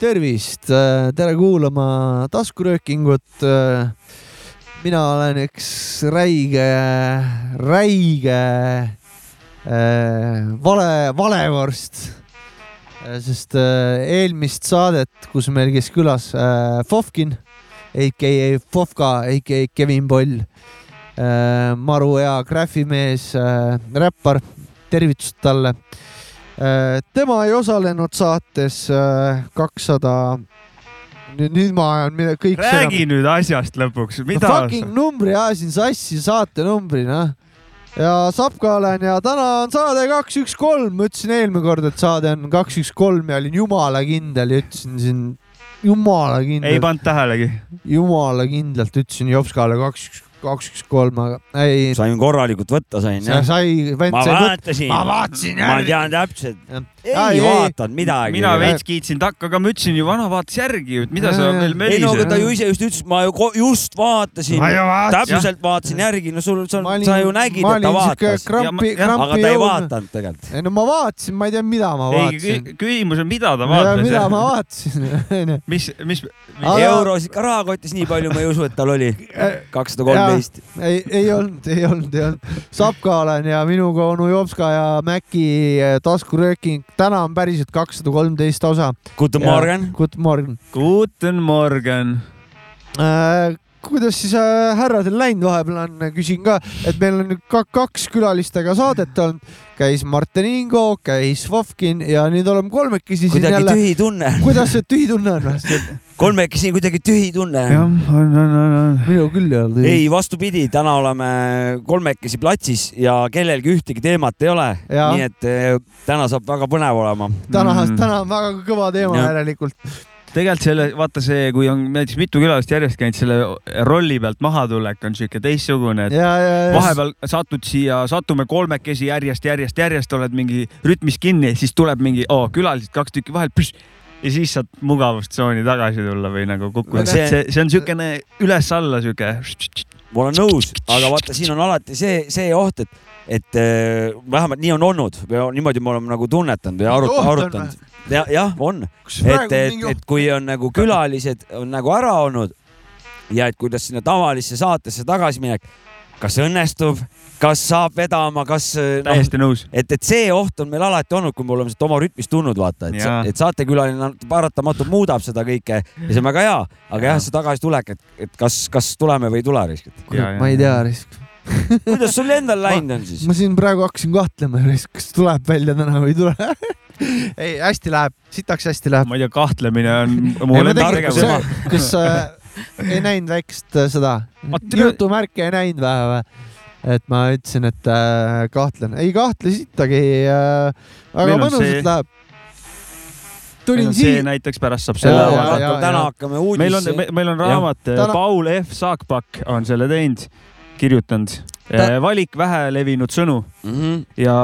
tervist, äh, tere kuulama taskuröökingut. Äh, mina olen üks räige, räige äh, vale, valevorst. Äh, sest eelmist saadet, kus meil käis külas äh, Fofkin, AKA Fofka, AKA Kevin Poll, äh, maru hea graafimees, äh, räppar, tervitused talle Äh, tema ei osalenud saates äh, kakssada 200... nüüd ma ajan kõik. räägi enam... nüüd asjast lõpuks, mida no,. Fucking numbri ajasin sassi saate numbrina ja Sapka olen ja täna on saade kaks, üks, kolm, ma ütlesin eelmine kord, et saade on kaks, üks, kolm ja olin jumala kindel ja ütlesin siin jumala kindlalt. ei pannud tähelegi. jumala kindlalt ütlesin Jopskale kaks, üks, kaks, üks, kolm, aga ei. sain korralikult võtta, sain jah? sai, vend sai võtta. ma vaatasin. ma tean täpselt. ei, ei vaadanud midagi. mina veits kiitsin takka, aga ma ütlesin ju, vana vaatas järgi, et mida sa veel mölised. ei no aga ta ju ise just ütles, ma ju just vaatasin. täpselt vaatasin järgi, no sul, sa, sa ju nägid, et ta vaatas. aga ta ei vaadanud tegelikult. ei no ma vaatasin, ma ei tea, mida ma vaatasin. küsimus on, mida ta vaatas. mida ma vaatasin. mis, mis? eurosid ka rahakotis nii palju, ma ei usu, et tal oli. kakssada kolmteist teist. ei, ei olnud, ei olnud, ei olnud. Sapka olen ja minuga onu Jopska ja Mäki eh, taskurööking. täna on päriselt kakssada kolmteist osa. Guten Morgen. Guten Morgen. Guten Morgen äh, kuidas siis äh, härradel läinud vahepeal on, küsin ka, et meil on ka kaks külalistega saadet olnud, käis Martin Ingo, käis Vovkin ja nüüd oleme kolmekesi. kuidagi jälle... tühi tunne. kuidas see tühi tunne on kolmekesi kuidagi tühi tunne. jah, on, on, on, on. minul küll ei olnud. ei, vastupidi, täna oleme kolmekesi platsis ja kellelgi ühtegi teemat ei ole. nii et eh, täna saab väga põnev olema. täna mm., täna on väga kõva teema järelikult tegelikult selle, vaata see, kui on näiteks mitu külalist järjest käinud, selle rolli pealt mahatulek on sihuke teistsugune, et ja, ja, ja. vahepeal satud siia, satume kolmekesi järjest, järjest, järjest oled mingi rütmis kinni, siis tuleb mingi oo, külalised kaks tükki vahel ja siis saad mugavustsooni tagasi tulla või nagu kukkuda. see, see, see on niisugune üles-alla sihuke. ma olen nõus, aga vaata, siin on alati see, see oht, et, et äh, vähemalt nii on olnud või niimoodi me oleme nagu tunnetanud ja arut, arutanud. jah, jah, on. et, et, et kui on nagu külalised on nagu ära olnud ja et kuidas sinna tavalisse saatesse tagasiminek, kas õnnestub, kas saab vedama, kas. äh, noh, täiesti no, nõus. et, et see oht on meil alati olnud, kui me oleme sealt oma rütmist tulnud, vaata, et, sa, et saatekülaline paratamatult muudab seda kõike ja see on väga hea, aga ja. jah, see tagasitulek, et, et kas, kas tuleme või ei tule risk. ma ei tea risk kuidas sul endal läinud on siis? ma siin praegu hakkasin kahtlema, kas tuleb välja täna või ei tule ei, hästi läheb, sitaks hästi läheb. ma ei tea, kahtlemine on mu tarkus. kas äh, ei näinud väikest äh, seda jutumärki ei näinud vähe või? et ma ütlesin, et äh, kahtlen, ei kahtle sittagi äh,, aga mõnusalt see... läheb. tulin siia. näiteks pärast saab selle avaldada, täna ja. hakkame uudisse. meil on, meil on raamat, täna... Paul F Saakpakk on selle teinud, kirjutanud Ta... valik vähelevinud sõnu mm. Mhm. -hmm. ja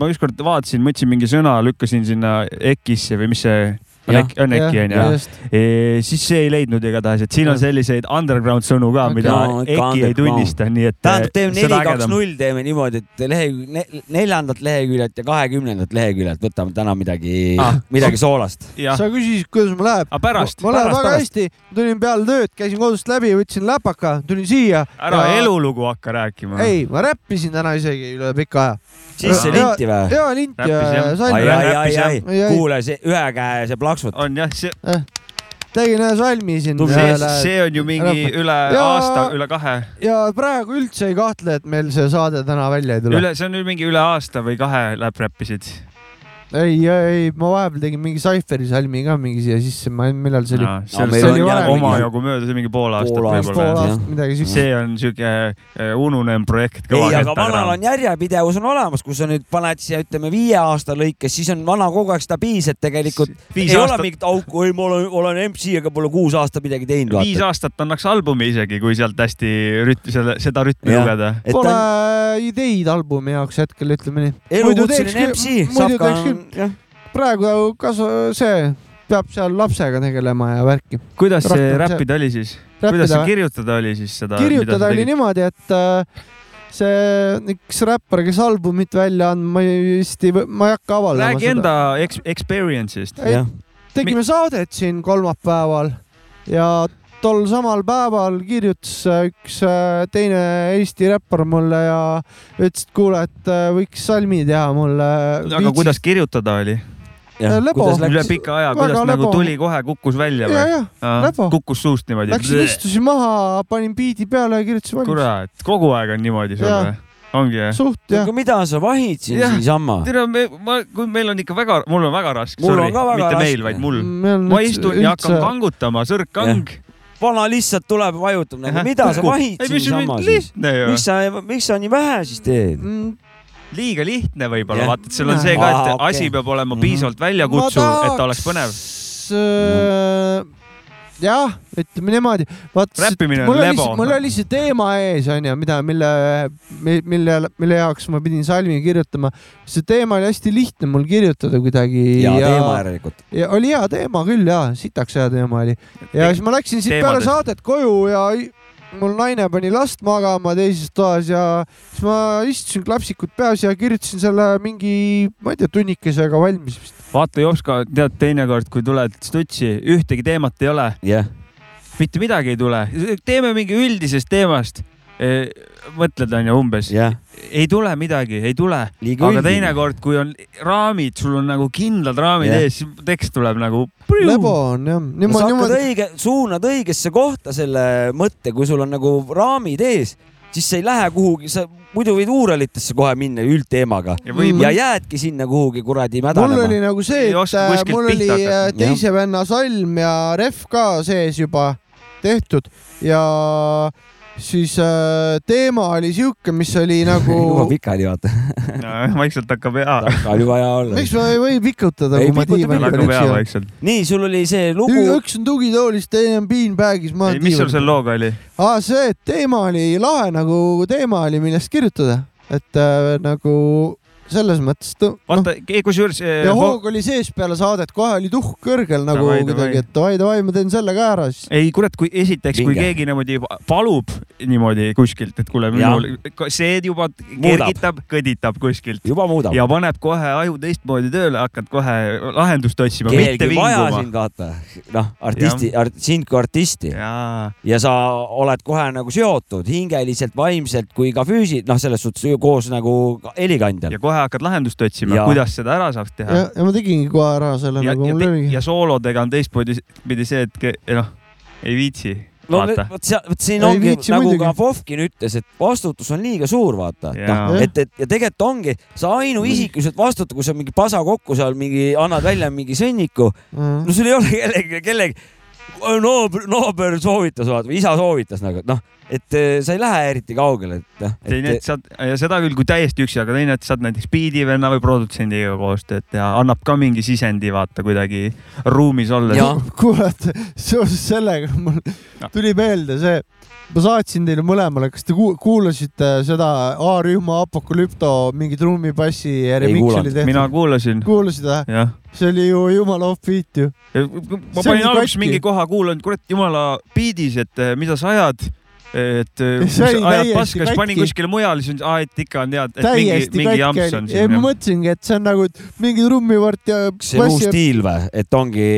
ma ükskord vaatasin, mõtlesin mingi sõna, lükkasin sinna EKI-sse või mis see on äkki, on äkki onju. Eh, siis see ei leidnud igatahes, et siin ja. on selliseid underground sõnu ka okay., mida no, äkki ei tunnista, nii et. eh, tähendab, teeme neli, kaks, null teeme niimoodi, et lehe, neljandat leheküljelt ja kahekümnendat leheküljelt võtame täna midagi ah,, midagi soolast. sa küsisid, kuidas mul läheb. Ah, pärast. mul läheb väga hästi, tulin peale tööd, käisin kodust läbi, võtsin läpaka, tulin siia. ära ja... elulugu hakka rääkima. ei, ma räppisin täna isegi üle pika aja sisse linti või? jaa, linti ja sain. ai, ai, ai, ai, kuule see ühe käe see plaksutab. on jah, see eh,. tegin ühe salmi siin. see on ju mingi Räppa. üle ja, aasta, üle kahe. ja praegu üldse ei kahtle, et meil see saade täna välja ei tule. üle, see on nüüd mingi üle aasta või kahe läheb räppisid ei , ei , ma vahepeal tegin mingi Cypheri salmi ka mingi siia sisse , ma ei , millal see oli . No meil on jälle mingi- omajagu mööda , see mingi pool aastat Pool aastat, pool võib-olla . aastat , midagi siukest . see on siuke äh, ununenud projekt . ei , aga vanal on järjepidevus on olemas , kui sa nüüd paned siia , ütleme viie aasta lõikes , siis on vana kogu aeg stabiilselt tegelikult . viis ei aastat... ole aastat , mingit auku , ei ma olen , olen MC , aga pole kuus aastat midagi teinud . viis aastat annaks albumi isegi , kui sealt hästi rüt- , selle , seda rütmi Jah. lugeda . Pole ideid albumi jaoks hetkel , ütleme nii . elukutseline MC , muidu saab ka teeks , praegu kas see peab seal lapsega tegelema ja värki . kuidas see Rohkem see- räppida oli siis ? kuidas see kirjutada oli siis seda ? kirjutada oli niimoodi , et äh, see üks räppar , kes albumit välja andnud , ma ei- vist ei , ma ei hakka avaldama räägi enda eks- , experience'ist . Ei, tegime saadet siin kolmapäeval ja tol samal päeval kirjutas äh, üks äh, teine Eesti räppar mulle ja ütles , et kuule , et äh, võiks salmi teha mulle . aga kuidas kirjutada oli ? Äh, Lebo. üle pika aja , Väga kuidas nagu lebo. tuli kohe , kukkus välja ja , või ? ja lebo. kukkus suust läksin , niimoodi . istusin maha , panin biidi peale ja kirjutasin valmis . kurat , kogu aeg on niimoodi sul Jaa. või ? ongi jah ? suht jah aga . mida sa vahid siin Jah. niisama ? tere , me , ma , kui meil on ikka väga , mul on väga raske , Mul on sorry , ka väga mitte raske. meil , vaid mul . Mm, Meil on ma üldse- istun ja hakkan üldse- kangutama , sõrg kang . vana lihtsalt tuleb , vajutab nagu , Ähä, mida sa kukub. vahid ei , siin mis niisama on siis ? lihtne ju miks . sa , miks sa nii vähe siis teed ? Mm, liiga lihtne võib-olla , Jah. vaata , et seal on see ka , et Aa, okei. asi peab olema Mhm. piisavalt välja kutsuv , et ta oleks põnev .. Äh, jah , ütleme niimoodi . Räppimine on mul oli lebo. , mul oli see teema ees onju , mida , mille , mille , mille jaoks ma pidin salmi kirjutama . see teema oli hästi lihtne mul kirjutada kuidagi . hea teema järelikult . ja oli hea teema küll ja , sitaks hea teema oli . ja siis ma läksin siit peale Teemadest. saadet koju ja i- mul naine pani last magama teises toas ja siis ma istusin klapsikud peas ja kirjutasin selle mingi , ma ei tea , tunnikesega valmis vist . vaata , Jopska , tead , teinekord , kui tuled stutsi , ühtegi teemat ei ole , jah , mitte midagi ei tule , teeme mingi üldisest teemast . mõtled , onju , umbes , jah , ei tule midagi , ei tule , liiga aga üldine . teinekord , kui on raamid , sul on nagu kindlad raamid Jah. ees , siis tekst tuleb nagu . lebo on jah . sa hakkad õige , suunad õigesse kohta selle mõtte , kui sul on nagu raamid ees , siis sa ei lähe kuhugi , sa muidu võid uuralitesse kohe minna üldteemaga ja võib Mm. ja jäädki sinna kuhugi kuradi mul mädanema oli . nagu see , Ei et oska äh, kuskilt mul pihta oli äh, hakata. teise venna salm ja ref ka sees juba tehtud ja siis äh, teema oli siuke , mis oli juba nagu , pikali vaata , vaikselt hakkab hea , tal juba hea olla . miks ma ei või pikutada , Ei kui ma pikuta, diivanil hakkab üksi hea olen . vaikselt . nii , sul oli see lugu , üks on tugitoolis , teine on beanbag'is , ma olen mis sul diivanil selle . looga oli ? aa , see et teema oli lahe nagu teema oli , millest kirjutada , et äh, nagu selles mõttes , et noh , vaata , kusjuures . e, ja hoog oli sees peale saadet , kohe oli tuhk kõrgel nagu Davai, davai. kuidagi , et davai-davai , ma teen selle ka ära siis . ei kurat , kui esiteks , kui Vinge. keegi niimoodi va- palub niimoodi kuskilt , et kuule , Jaa. minul , see juba kergitab , kõditab kuskilt juba muudab . ja paneb kohe aju teistmoodi tööle , hakkad kohe lahendust otsima , mitte keegi vaja vinguma . sind vaata , noh , artisti , art, sind kui artisti ja. jaa , ja sa oled kohe nagu seotud hingeliselt , vaimselt kui ka füüsi- , noh , selles suhtes ju koos nagu ka helikandjal ja . kohe hakkad lahendust otsima Jaa. , kuidas seda ära saaks teha . ja , ja ma tegingi kohe ära selle ja , nagu mul ja, oligi . ja soolodega on teistmoodi pidi see , et ke- noh , ei viitsi , no vaata . vot seal , vot siin Ei ongi viitsi nagu muidugi. ka Fofkin ütles , et vastutus on liiga suur , vaata . Jaa. noh , et , et ja tegelikult ongi , sa ainuisikuliselt vastuta , kui sa mingi pasa kokku seal mingi annad välja mingi sõnniku , no sul ei ole kellegi , kellegi , naaber , naaber soovitas vaata või isa soovitas nagu , et noh , et eh, sa ei lähe eriti kaugele , et noh . teine , et saad ja seda küll , kui täiesti üksi , aga teine , et saad näiteks biidivenna või produtsendiga koostööd teha , annab ka mingi sisendi , vaata kuidagi ruumis olles . jah , kuule , et seoses sellega mul Jah. tuli meelde see , ma saatsin teile mõlemale , kas te ku- kuulasite seda A-rühma Apokalüpto mingi trummipassi remix kuulanud. oli tehtud ? mina kuulasin , kuulasid või ? jah . see oli ju jumala off-beat ju . ma See panin oli nagu alguses katki. mingi koha , kuulan , kurat jumala biidis , et eh, mida sa ajad , et eh, Ja see oli ajad täiesti paska , siis panin katki. kuskile mujale , siis on , aa , et ikka on tead , et mingi , täiesti mingi katki jamps on oli . ei , siin ma . mõtlesingi , et see on nagu et mingi trummivart ja kas see on uus ja- stiil või , et ongi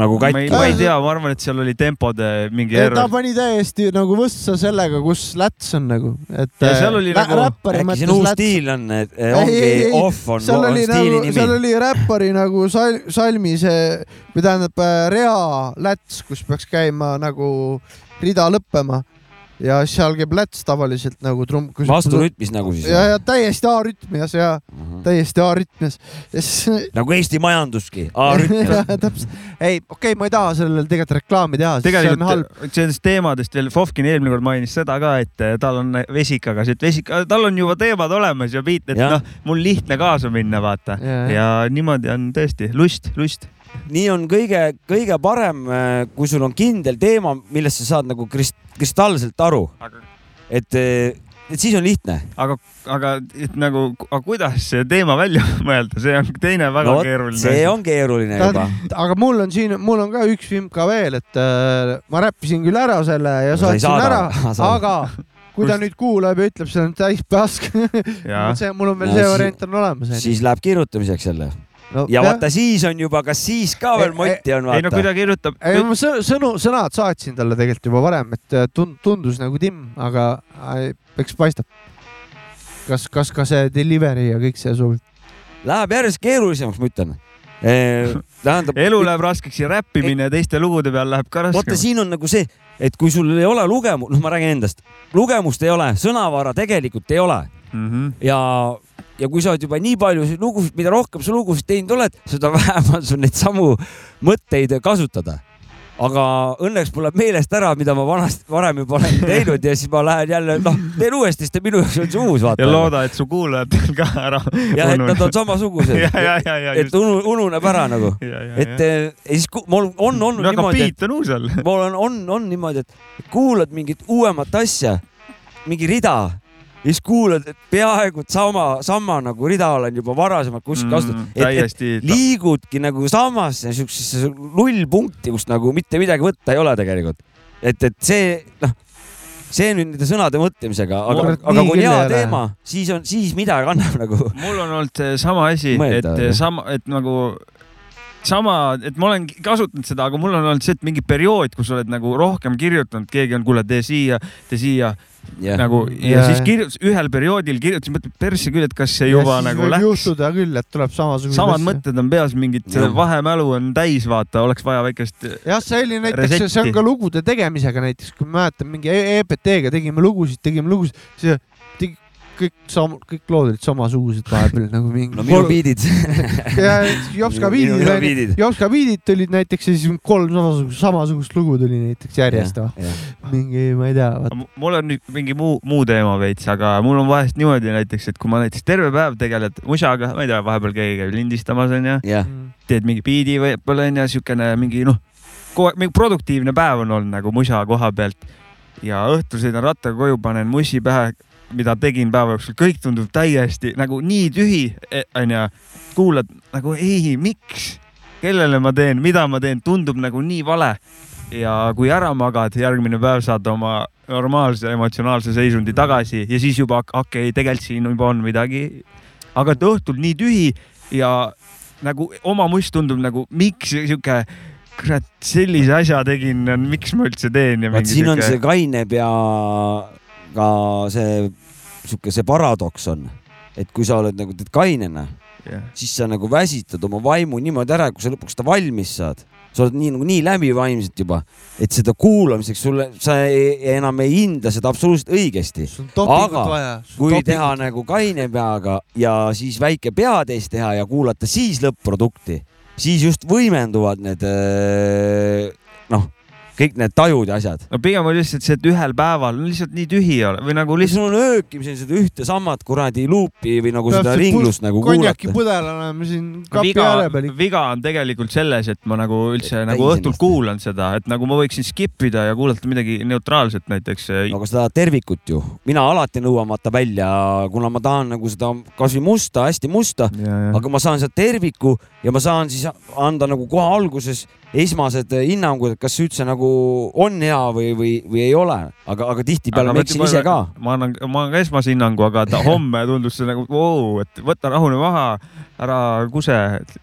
nagu ma ei , katki ma või ei ? tea , ma arvan , et seal oli tempode mingi Ja ta error . pani täiesti nagu võssa sellega , kus läts on nagu , et . Ja seal oli nagu- äkki see on uus stiil on , et eh, ongi Ei, ei, ei. off on , seal on oli stiili nagu , seal nimi . oli räppari nagu sal, salmi see , või tähendab äh, rea läts , kus peaks käima nagu rida lõppema ja seal käib läts tavaliselt nagu trumm . vasturütmis Mhm. nagu siis . ja , ja täiesti A-rütmi ja see ja , täiesti A-rütmes nagu Eesti majanduski, A-rütmes täpselt, ei, okei okay,, ma ei taha sellele tegelikult reklaami teha, sest see on halb. tegelikult sellest teemadest veel Fofkin eelmine kord mainis seda ka, et eh, tal on vesikaga, et vesika, eh, tal on juba teemad olemas ja piit, et Jah. noh, mul lihtne kaasa minna , vaata ja, Jah. ja niimoodi on tõesti lust , lust . nii on kõige-kõige parem , kui sul on kindel teema , millest sa saad nagu krist- , kristalselt aru , aga , et , et siis on lihtne . aga , aga et nagu , aga kuidas see teema välja mõelda , see on teine väga no, keeruline see on keeruline juba . aga mul on siin , mul on ka üks vimka veel , et äh, ma räppisin küll ära selle ja Sa ei saatsin saada ära ära. , Sa- aga kui ta nüüd kuulab ja ütleb , see on täis pask , ja see , mul on veel No see si- variant on olemas . siis läheb kirjutamiseks jälle no, ja vaata , siis on juba , kas siis ka veel Ei, motti on Eh, ei no kui vaata . ta kirjutab , ei , ma sõ- sõnu , sõnad saatsin talle tegelikult juba varem , et äh, tun- , tundus nagu timm , aga äh, eks paistab . kas , kas ka see delivery ja kõik see sobib ? Läheb järjest keerulisemaks , ma ütlen . tähendab , elu läheb raskeks ja räppimine teiste lugude peal läheb ka vaata raskeks . siin on nagu see , et kui sul ei ole lugemu- , noh , ma räägin endast , lugemust ei ole , sõnavara tegelikult ei ole Mm -hmm. ja , ja kui sa oled juba nii palju siin lugusid , mida rohkem sa lugusid teinud oled , seda vähem on sul neid samu mõtteid kasutada . aga õnneks mul läheb meelest ära , mida ma vanasti , varem juba olen teinud ja siis ma lähen jälle , noh , teen uuesti , sest minu jaoks on see uus , vaata . ja looda , et su kuulajatel ka ära jah , et nad on ja , samasugused . ja , ja , ja et just . unu- ununeb ära nagu . et et eh, ja siis ku- mul on olnud väga niimoodi , piit on uus all . et mul on , on , on niimoodi , et kuulad mingit uuemat asja , mingi rida ja siis kuulad , et peaaegu et sama , sama nagu rida olen juba varasemalt kuskil Mm, kasutanud et, täiesti et liigudki nagu samasse siuksesse nullpunkti , kus nagu mitte midagi võtta ei ole tegelikult . et , et see , noh , see nüüd nende sõnade mõtlemisega , aga Kurat, , aga nii kui on küll hea ei ole. teema , siis on , siis midagi annab nagu mul on olnud seesama asi , et äh, Mõeldav, jah. sama , et nagu sama , et ma olen kasutanud seda , aga mul on olnud see , et mingi periood , kus oled nagu rohkem kirjutanud , keegi on , kuule , tee siia , tee siia ja. jah , nagu ja, ja Jaa, siis jah. kirjutas , ühel perioodil kirjutas , mõtled persse küll , et kas see juba nagu läks . juhtuda küll , et tuleb samasugune . samad . mõtted on peas , mingit Jah. vahemälu on täis , vaata , oleks vaja väikest äh, jah , see oli näiteks , see on Resetti. ka lugude tegemisega näiteks , kui ma mäletan mingi E- EPT-ga tegime lugusid , tegime lugusid , siis äh, tegi kõik sama , kõik lood olid samasugused vahepeal nagu mingi no minu biidid . ja Jopska Minu- minu viidid biidid. , Jopska viidid tulid näiteks ja siis kolm samasugust , samasugust lugu tuli näiteks järjest , mingi , ma ei tea , vaata . M- mul on nüüd mingi muu , muu teema veits , aga mul on vahest niimoodi näiteks , et kui ma näiteks terve päev tegeled musaga , ma ei tea , vahepeal keegi käib lindistamas onju , jah , teed mingi biidi võib-olla onju , siukene mingi noh , kogu aeg mingi produktiivne päev on olnud nagu musa koha pealt ja õhtul sõidan rattaga koju , panen mussi pähe , mida tegin päeva jooksul , kõik tundub täiesti nagu nii tühi eh, onju , kuulad nagu ei , miks , kellele ma teen , mida ma teen , tundub nagu nii vale ja kui ära magad , järgmine päev saad oma normaalse emotsionaalse seisundi tagasi ja siis juba hak- okei okay, , tegelikult siin juba on midagi . aga et õhtul nii tühi ja nagu oma must tundub nagu , miks sihuke , kurat , sellise asja tegin , miks ma üldse teen ja vaat mingi siin on see sihuke . kaineb ja ka see sihuke see paradoks on , et kui sa oled nagu teed kainena , siis sa nagu väsitad oma vaimu niimoodi ära , kui sa lõpuks seda valmis saad , sa oled nii nagu nii läbi vaimselt juba , et seda kuulamiseks sulle , sa ei, enam ei hinda seda absoluutselt õigesti . sul on dopingut Aga vaja . kui teha nagu kaine peaga ja siis väike peateis teha ja kuulata siis lõpp-produkti , siis just võimenduvad need öö, noh , kõik need tajud ja asjad . no pigem oli lihtsalt see , et ühel päeval on lihtsalt nii tühi ole- või nagu lihtsalt sul on öökimisel seda ühte sammat kuradi luupi või nagu seda ringlust nagu kuulata . konjakipudel oleme siin kapi viga ääre peal , ikka . viga on tegelikult selles , et ma nagu üldse Täis nagu õhtul ennast. kuulan seda , et nagu ma võiksin skip ida ja kuulata midagi neutraalset näiteks . äh, aga sa tahad tervikut ju , mina alati nõuan vaata välja , kuna ma tahan nagu seda kasvõi musta , hästi musta , aga ma saan sealt terviku ja ma saan siis anda nagu kohe alguses esmased hinnangud , et kas see üldse nagu on hea või , või , või ei ole , aga , aga tihtipeale ma eksin ise ka . ma annan , ma annan ka esmase hinnangu , aga ta homme tundus see nagu vau , et võta rahune maha , ära kuse .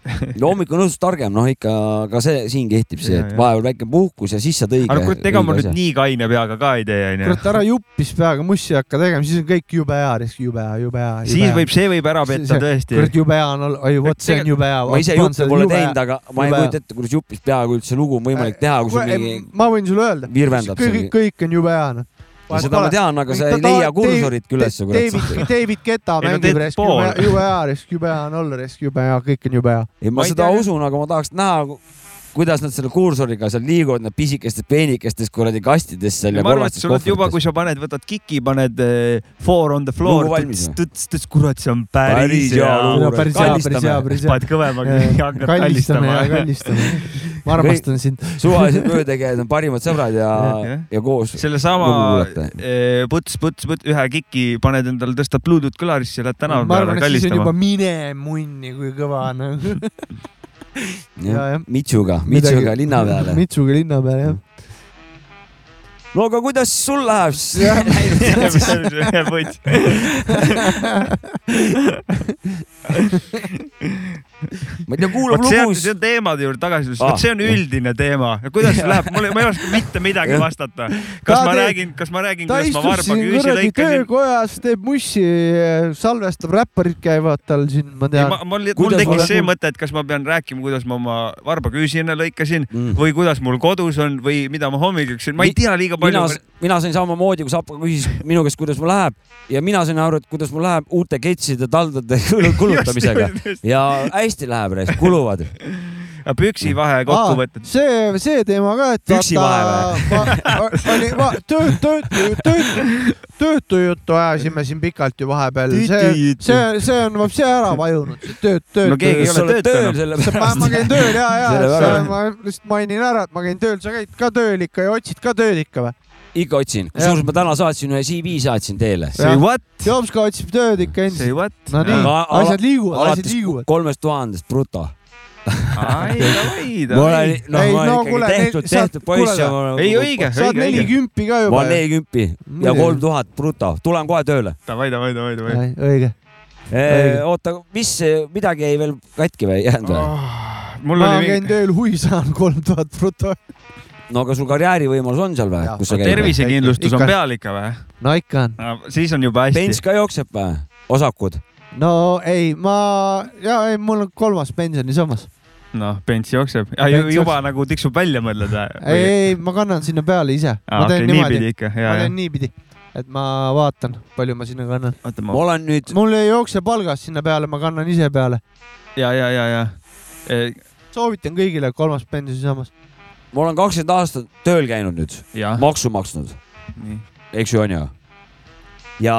hommik on õhtust targem , noh ikka ka see siin kehtib see , Ja, et ja. vahepeal väike puhkus ja siis saad õige . aga kurat , ega ma nüüd nii kaine peaga ka ei tee , onju . kurat , ära juppis peaga mussi hakka tegema , siis on kõik jube hea , jube hea , jube hea . siis võib , see võib ära petta See- tõesti . kurat , jube hea on olla , oi vot see on jube hea . ma ise juppe pole teinud , aga ma jube ei hea. kujuta ette , kuidas jupis peaaegu üldse lugu on võimalik teha , kui sul mingi ma võin sulle öelda , virvendab seal kõik , kõik on jube hea , noh . Vahet seda ma pole. tean , aga sa ei Ta- ta- leia Dave- kursorit üles , David- kurat . David Keta Ei, no mängib teed res , pool. jube jube hea res , jube hea on olla res , jube hea , kõik on jube hea . ei , Ma ma ei seda tea, jah. usun , aga ma tahaks näha , kuidas nad selle kursoriga seal liiguvad , need pisikestes peenikestes kuradi kastides seal ja ma arvan , et kollastes sul on juba , kui kohvrites . sa paned , võtad kiki , paned eh, four on the floor Lugu , valmis tõts või? , tõts , tõts , kurat , see on päris Päris hea lugu. hea . Nagu päris hea , päris hea , päris hea . paned kõvemaks ja hakkad kallistame ja kallistama . kallistame . ma armastan sind . suvalised möödakäijad on parimad sõbrad ja Jah. , ja koos . sellesama lugu kuulata. eh, puts , puts , puts , ühe kiki paned endale , tõstad Bluetooth kõlarisse , lähed tänava ma peale arvan , et siis on kallistama juba . mine munni , kui kõva noh. on . jah. Mitsuga , Mitsuga linna peale . Mitsuga linna peale , jah . no aga kuidas sul läheb Jah. siis ? ma ei tea , kuulab vot see on , lugus see on teemade juurde tagasi tulles Ah, ah, , see on jah. üldine teema , kuidas sul läheb , mul ei , ma ei oska mitte midagi Jah. vastata . kas Ta ma teeb- räägin , kas ma räägin , ta kuidas ma istub siin varbaga üüsi kuradi lõikasin ? töökojas , teeb mussi , salvestab , räpparid käivad tal siin , ma tean . mul , mul Kuidas tekkis ma- see mõte , et kas ma pean rääkima , kuidas ma oma varbaga üüsi enne lõikasin Mm. või kuidas mul kodus on või mida ma hommikuks söön , ma ei Mi- tea liiga mina palju ., mina sain samamoodi , kui Sapka küsis minu käest , kuidas mul läheb ja mina sain aru , et kuidas mul läheb uute ketside taldade kulutamisega ja hästi läheb , kuluvad . püksivahe kokkuvõtted . Ah, see , see teema ka , et Üksi vahe või ? oli , ma tööd , tööd , tööd , töötu juttu ajasime siin pikalt ju vahepeal , see , Tüütüütü. see , see on , see ära vajunud , see tööd , tööd No . keegi ei ole sa oled töötanud. tööl selle ma , ma pärast . käin tööl ja , ja Selle see, väga- ma lihtsalt mainin ära , et ma käin tööl , sa käid ka tööl ikka ja otsid ka tööd ikka või ? ikka otsin , kusjuures ma täna saatsin ühe CV saatsin teile . Say what , Jops ka otsib tööd ikka say endiselt . what . no nii , Aga ala- asjad liiguvad , asjad alates liiguvad . kolmest tuhandest bruto . ai , davai , ma davai . olen , noh , Ei, ma no olen ikkagi kuule, tehtud , sa- tehtud poiss ja ma ei olen , õige , saad õige , õige . nelikümpi ka ma juba olen . nelikümpi ja Muidugi. kolm tuhat bruto , tulen kohe tööle . davai , davai , davai , davai . õige . Õige. oota , mis , midagi jäi veel katki või ei jäänud või ? Ah. mul ma oli käin mingi tööl , hui saan kolm tuhat bruto . no aga sul karjäärivõimalus on seal või Jaa. , kus sa käid ? tervisekindlustus on Ikka. peal ikka või ? no ikka on . siis on juba pens hästi . ka jookseb või ? osakud ? no ei , ma , ja ei , mul on kolmas pensionisammas . noh , pens jookseb Pents . juba nagu tiksub välja , mõtled ei , või ? ei , ma kannan sinna peale ise . Ah, ma teen niimoodi , niipidi ikka , ma ja , ja teen . niipidi , et ma vaatan , palju ma sinna kannan . oota , ma ma , olen nüüd , mul ei jookse palgast sinna peale , ma kannan ise peale . ja , ja , ja , ja . soovitan kõigile kolmas pensionisammas . ma olen kakskümmend aastat tööl käinud nüüd , jah , maksu maksnud , nii . eks ju , on ju . ja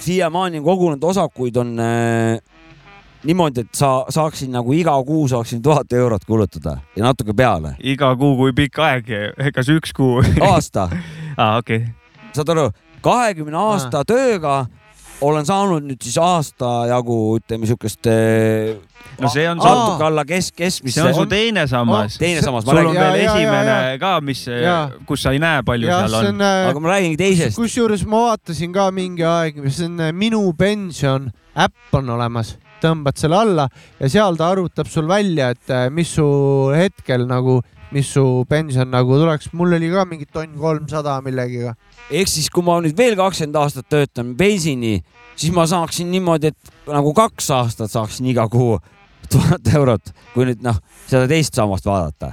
siiamaani on kogunenud osakuid on äh, niimoodi , et sa saaksin nagu iga kuu saaksin tuhat eurot kulutada ja natuke peale . iga kuu , kui pikk aeg , kas üks kuu ? aasta , aa , Ah, okei . Ah. saad aru , kahekümne aasta tööga olen saanud nüüd siis aasta jagu , ütleme siukest äh, no see on su , natuke alla kesk , keskmisse . see on su teine sammas . Oh, teine sammas , ma sul on räägin , Ja, veel ja, ja, esimene ka , mis eh, Ja. , kus sa ei näe , palju jah , seal see on . äh, on , aga ma räägingi teisest . kusjuures ma vaatasin ka mingi aeg , see on äh, Minu Pension äpp on olemas , tõmbad selle alla ja seal ta arvutab sul välja , et äh, mis su hetkel nagu , mis su pension nagu tuleks . mul oli ka mingi tonn kolmsada millegiga . ehk siis , kui ma nüüd veel kakskümmend aastat töötan bensini , siis ma saaksin niimoodi , et nagu kaks aastat saaksin iga kuu tuhat eurot , kui nüüd noh , seda teist sammast vaadata .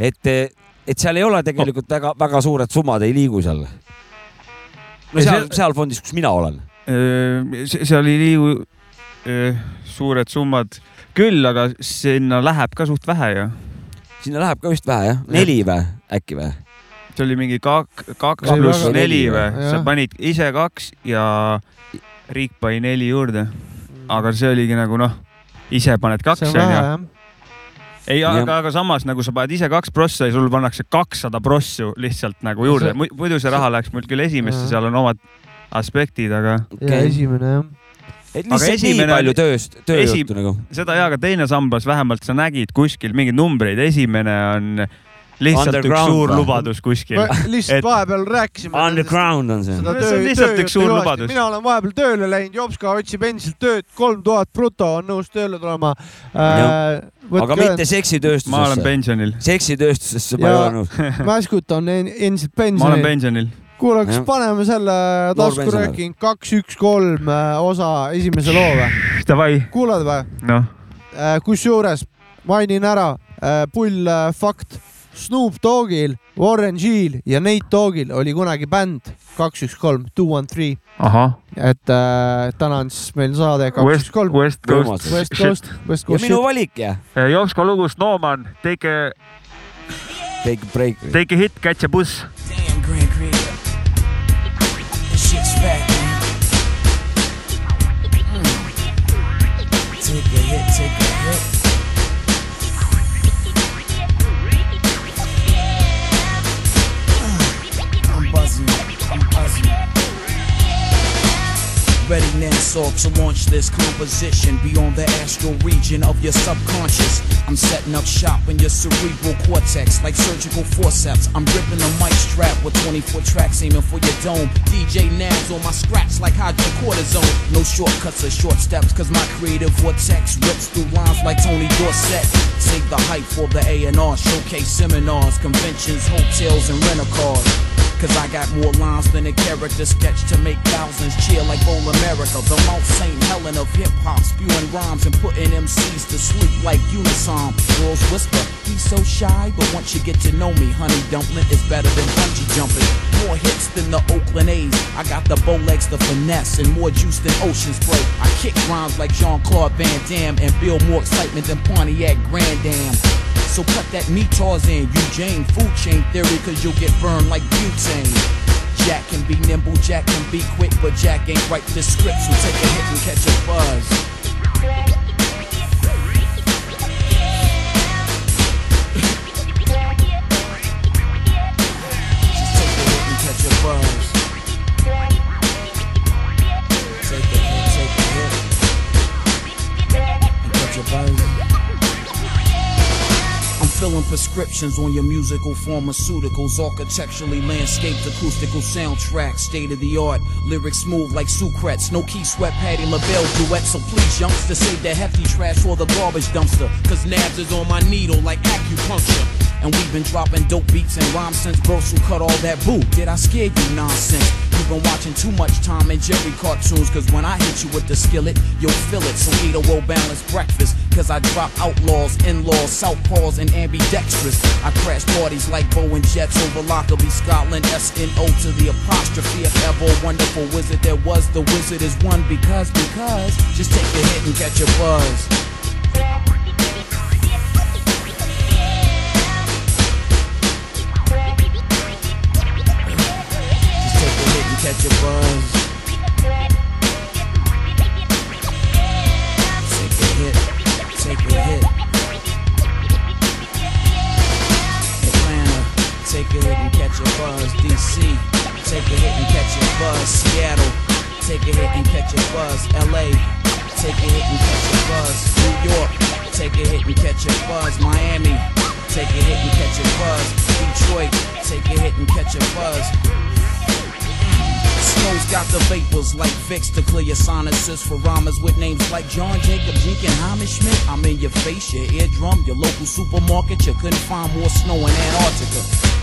et , et seal ei ole tegelikult väga-väga suured summad ei liigu seal . no Ei, seal , seal- seal fondis , kus mina olen . Äh, see , seal ei liigu öö, suured summad küll , aga sinna läheb ka suht vähe ju . sinna läheb ka vist vähe jah , neli või äkki või ? see oli mingi kak- , kaks Ei, pluss väga- neli või , Jah. sa panid ise kaks ja riik pani neli juurde , Mm. aga see oligi nagu noh , ise paned kaks onju . ei , Jah. aga , aga samas nagu sa paned ise kaks prossa ja sul pannakse kakssada prossu lihtsalt nagu juurde See- , muidu see raha läheks mul küll esimesse , Jah. seal on omad aspektid , aga ja esimene jah . et Aga lihtsalt nii esimene- palju tööst , tööjuttu nagu . seda ja , aga teine sambas vähemalt sa nägid kuskil mingeid numbreid , esimene on lihtsalt üks Underground suur või? lubadus kuskil . lihtsalt Et- vahepeal rääkisime . Underground on see . seda No see on töö , lihtsalt töö üks suur lubadus. mina olen vahepeal tööle läinud , Jopska otsib endiselt tööd , kolm tuhat bruto on nõus tööle tulema Jah. äh, . aga mitte ma olen seksitööstusesse . pensionil , seksitööstusesse ma Ja- ei ole nõus . Mäskut on en- endiselt ma pensionil . olen pensionil . kuule , kas Jah. paneme selle pensionär. taskurääking kaks , üks , kolm äh, osa esimese loo või ? Davai , kuulad või ? noh , äh, kusjuures mainin ära , pull äh, fakt , Snoop Doggil Warren G-l ja Nate Doggil oli kunagi bänd kaks, üks, kolm, two, one, three . ahah , et äh, täna on siis meil saade kaks , West üks , , kolm . West Coast Võimas. , West Coast , West ja Coast minu Shit . valik jah , Jovsko lugu Snowman , Take a , Take a break . Take a hit , Catch a bus . Damn, Greg Real. Shit's back, man. Mm. Take a hit, take a hit. Ah. I'm buzzing, I'm buzzing. Ready now, so to launch this composition beyond the astral region of your subconscious. I'm setting up shop in your cerebral cortex like surgical forceps. I'm ripping a mic strap with 24 tracks aiming for your dome. DJ Nabs on my scraps like hydrocortisone. No shortcuts or short steps, cause my creative vortex rips through lines like Tony Dorsett. Save the hype for the A&R, showcase seminars, conventions, hotels, and rental cars. Cause I got more lines than a character sketch to make thousands cheer like Bowl America. The Mount St. Helen of hip hop, spewing rhymes and putting MCs to sleep like unison. Girls whisper, he's so shy, but once you get to know me, honey dumpling is better than bungee jumping. More hits than the Oakland A's. I got the Bolex, the finesse, and more juice than Ocean Spray. I kick rhymes like Jean Claude Van Damme and build more excitement than Pontiac Grand Dam. So cut that meat Tarzan, Eugene, food chain theory, cause you'll get burned like butane. Jack can be nimble, Jack can be quick, but Jack ain't write the script, so take a hit and catch a buzz. Just take a hit and catch a buzz. Take a hit, take a hit. And catch a buzz. I'm filling prescriptions on your musical pharmaceuticals, architecturally landscaped acoustical soundtrack, state of the art, lyrics smooth like Sucrets, no key sweat, Patty LaBelle duet, so please youngster, save the hefty trash for the garbage dumpster, cause Nabs is on my needle like acupuncture. And we've been dropping dope beats and rhymes since Bros who cut all that boo. Did I scare you nonsense? You've been watching too much Tom and Jerry cartoons, cause when I hit you with the skillet, you'll feel it. So eat a well balanced breakfast, cause I drop outlaws, in laws, southpaws, and ambidextrous. I crash parties like Bowen Jets over Lockerbie, Scotland, SNO to the apostrophe. If ever a wonderful wizard there was, the wizard is one because, because. Just take a hit and catch a buzz. Just take a hit and catch a buzz. Take a hit, take a hit. Atlanta, take a hit and catch a buzz. DC, take a hit and catch a buzz. Seattle, take a hit and catch a buzz. LA, take a hit and catch a buzz. New York, take a hit and catch a buzz. Miami, take a hit and catch a buzz. Detroit, take a hit and catch a buzz. Snow's got the vapors like Vicks to clear your sinuses for rhymers with names like John Jacob Jenkins Hammerschmidt. I'm in your face, your eardrum, your local supermarket. You couldn't find more snow in Antarctica.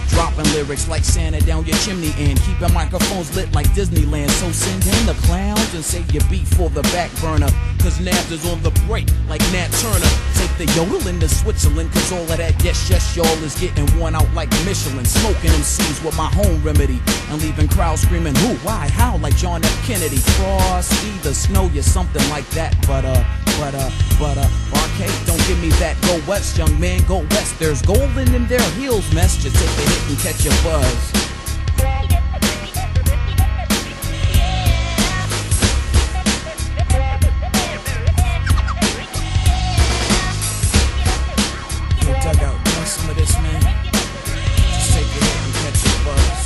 Dropping lyrics like Santa down your chimney and keeping microphones lit like Disneyland. So send him the clowns and save your beat for the back burner. Cause Nabs is on the break like Nat Turner. Take the yodeling to Switzerland, cause all of that yes, yes, y'all is getting worn out like Michelin. Smoking them seeds with my home remedy and leaving crowds screaming who, why, how, like John F. Kennedy. Frost, either snow, you something like that. But uh, but uh, but uh, arcade, don't give me that. Go west, young man, go west. There's gold in them there heels, mess. Just take a hit and catch a buzz. Yo, dugout, want some of this, man? Just take a hit and catch a buzz.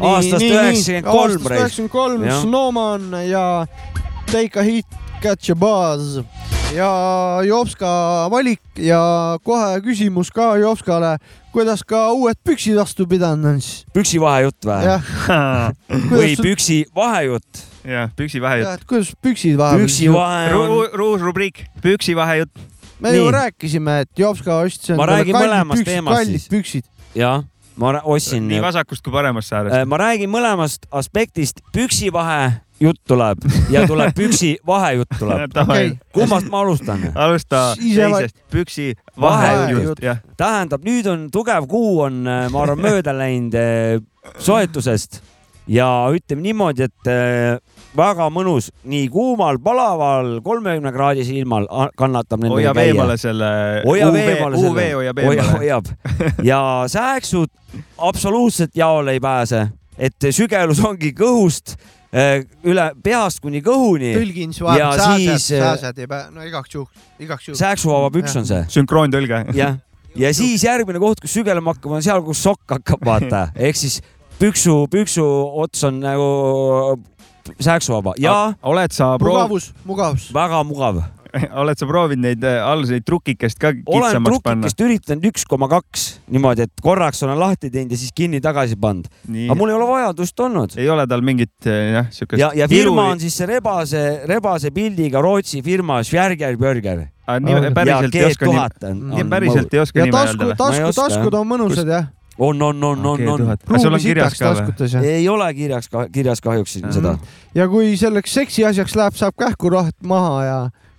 Aastast 93 aastast reis. üheksakümmend kolm , Jah. Snowman ja Take a hit , catch a buzz ja Jopska valik ja kohe küsimus ka Jopskale , kuidas ka uued püksid vastu pidanud on siis ? püksi vahejutt või ? jah , või kuidas sul , püksi vahejutt , jah , püksi vahejutt . kuidas püksid vahepeal püksi vahe on , uus rubriik , püksi vahejutt . me ju Nii. rääkisime , et Jopska ostis Ma endale räägin kallid mõlemast püksid , teemast kallid siis. püksid . jah , ma ra- ostsin nii . vasakust kui paremast Äh, saarest . ma räägin mõlemast aspektist , püksivahe jutt tuleb ja tuleb püksi vahejutt tuleb Davai. kummast ma alustan ? alusta Siis jäävad- teisest , püksi Vahejutt. vahejutt , jah . tähendab , nüüd on tugev kuu on , ma arvan , mööda läinud eh, soetusest ja ütleme niimoodi , et eh, väga mõnus nii kuumal , palaval , kolmekümne kraadisel ilmal a- kannatab nende hoiab eemale selle . hoiab eemale UV hoiab eemale . hoiab ja sääksud absoluutselt jaole ei pääse , et sügelus ongi kõhust eh, üle peast kuni kõhuni . tõlgin su ära , Ja sääsed , siis, äh, sääsed ei pea , no igaks juhuks , igaks juhuks . sääksuvaba püks on see . sünkroontõlge . jah , ja siis järgmine koht , kus sügelema hakkab , on seal , kus sokk hakkab , vaata , ehk siis püksu , püksu ots on nagu sääksuvaba ja oled sa proovinud , mugavus , mugavus . väga mugav . oled sa proovinud neid äh, aluseid trukikest ka olen kitsamaks panna ? trukikest üritanud üks koma kaks niimoodi , et korraks olen lahti teinud ja siis kinni tagasi pannud , nii aga , mul ei ole vajadust olnud . ei ole tal mingit äh, jah , siukest . ja , ja firma on siis see rebase , rebase pildiga Rootsi firma Schwerger Burger . nii ja päriselt ei G oska nii , tuhat on nii , päriselt ei oska Mm. ja nime tasku öelda ,. Ma ei tasku , oska, taskud jah. on mõnusad jah . on , on , on , on , on . kas sul on kirjas ka või ? taskutes jah . ei ole kirjas , kirjas kahjuks Mhm. seda . ja kui selleks seksi asjaks läheb , saab kähkuraht maha ja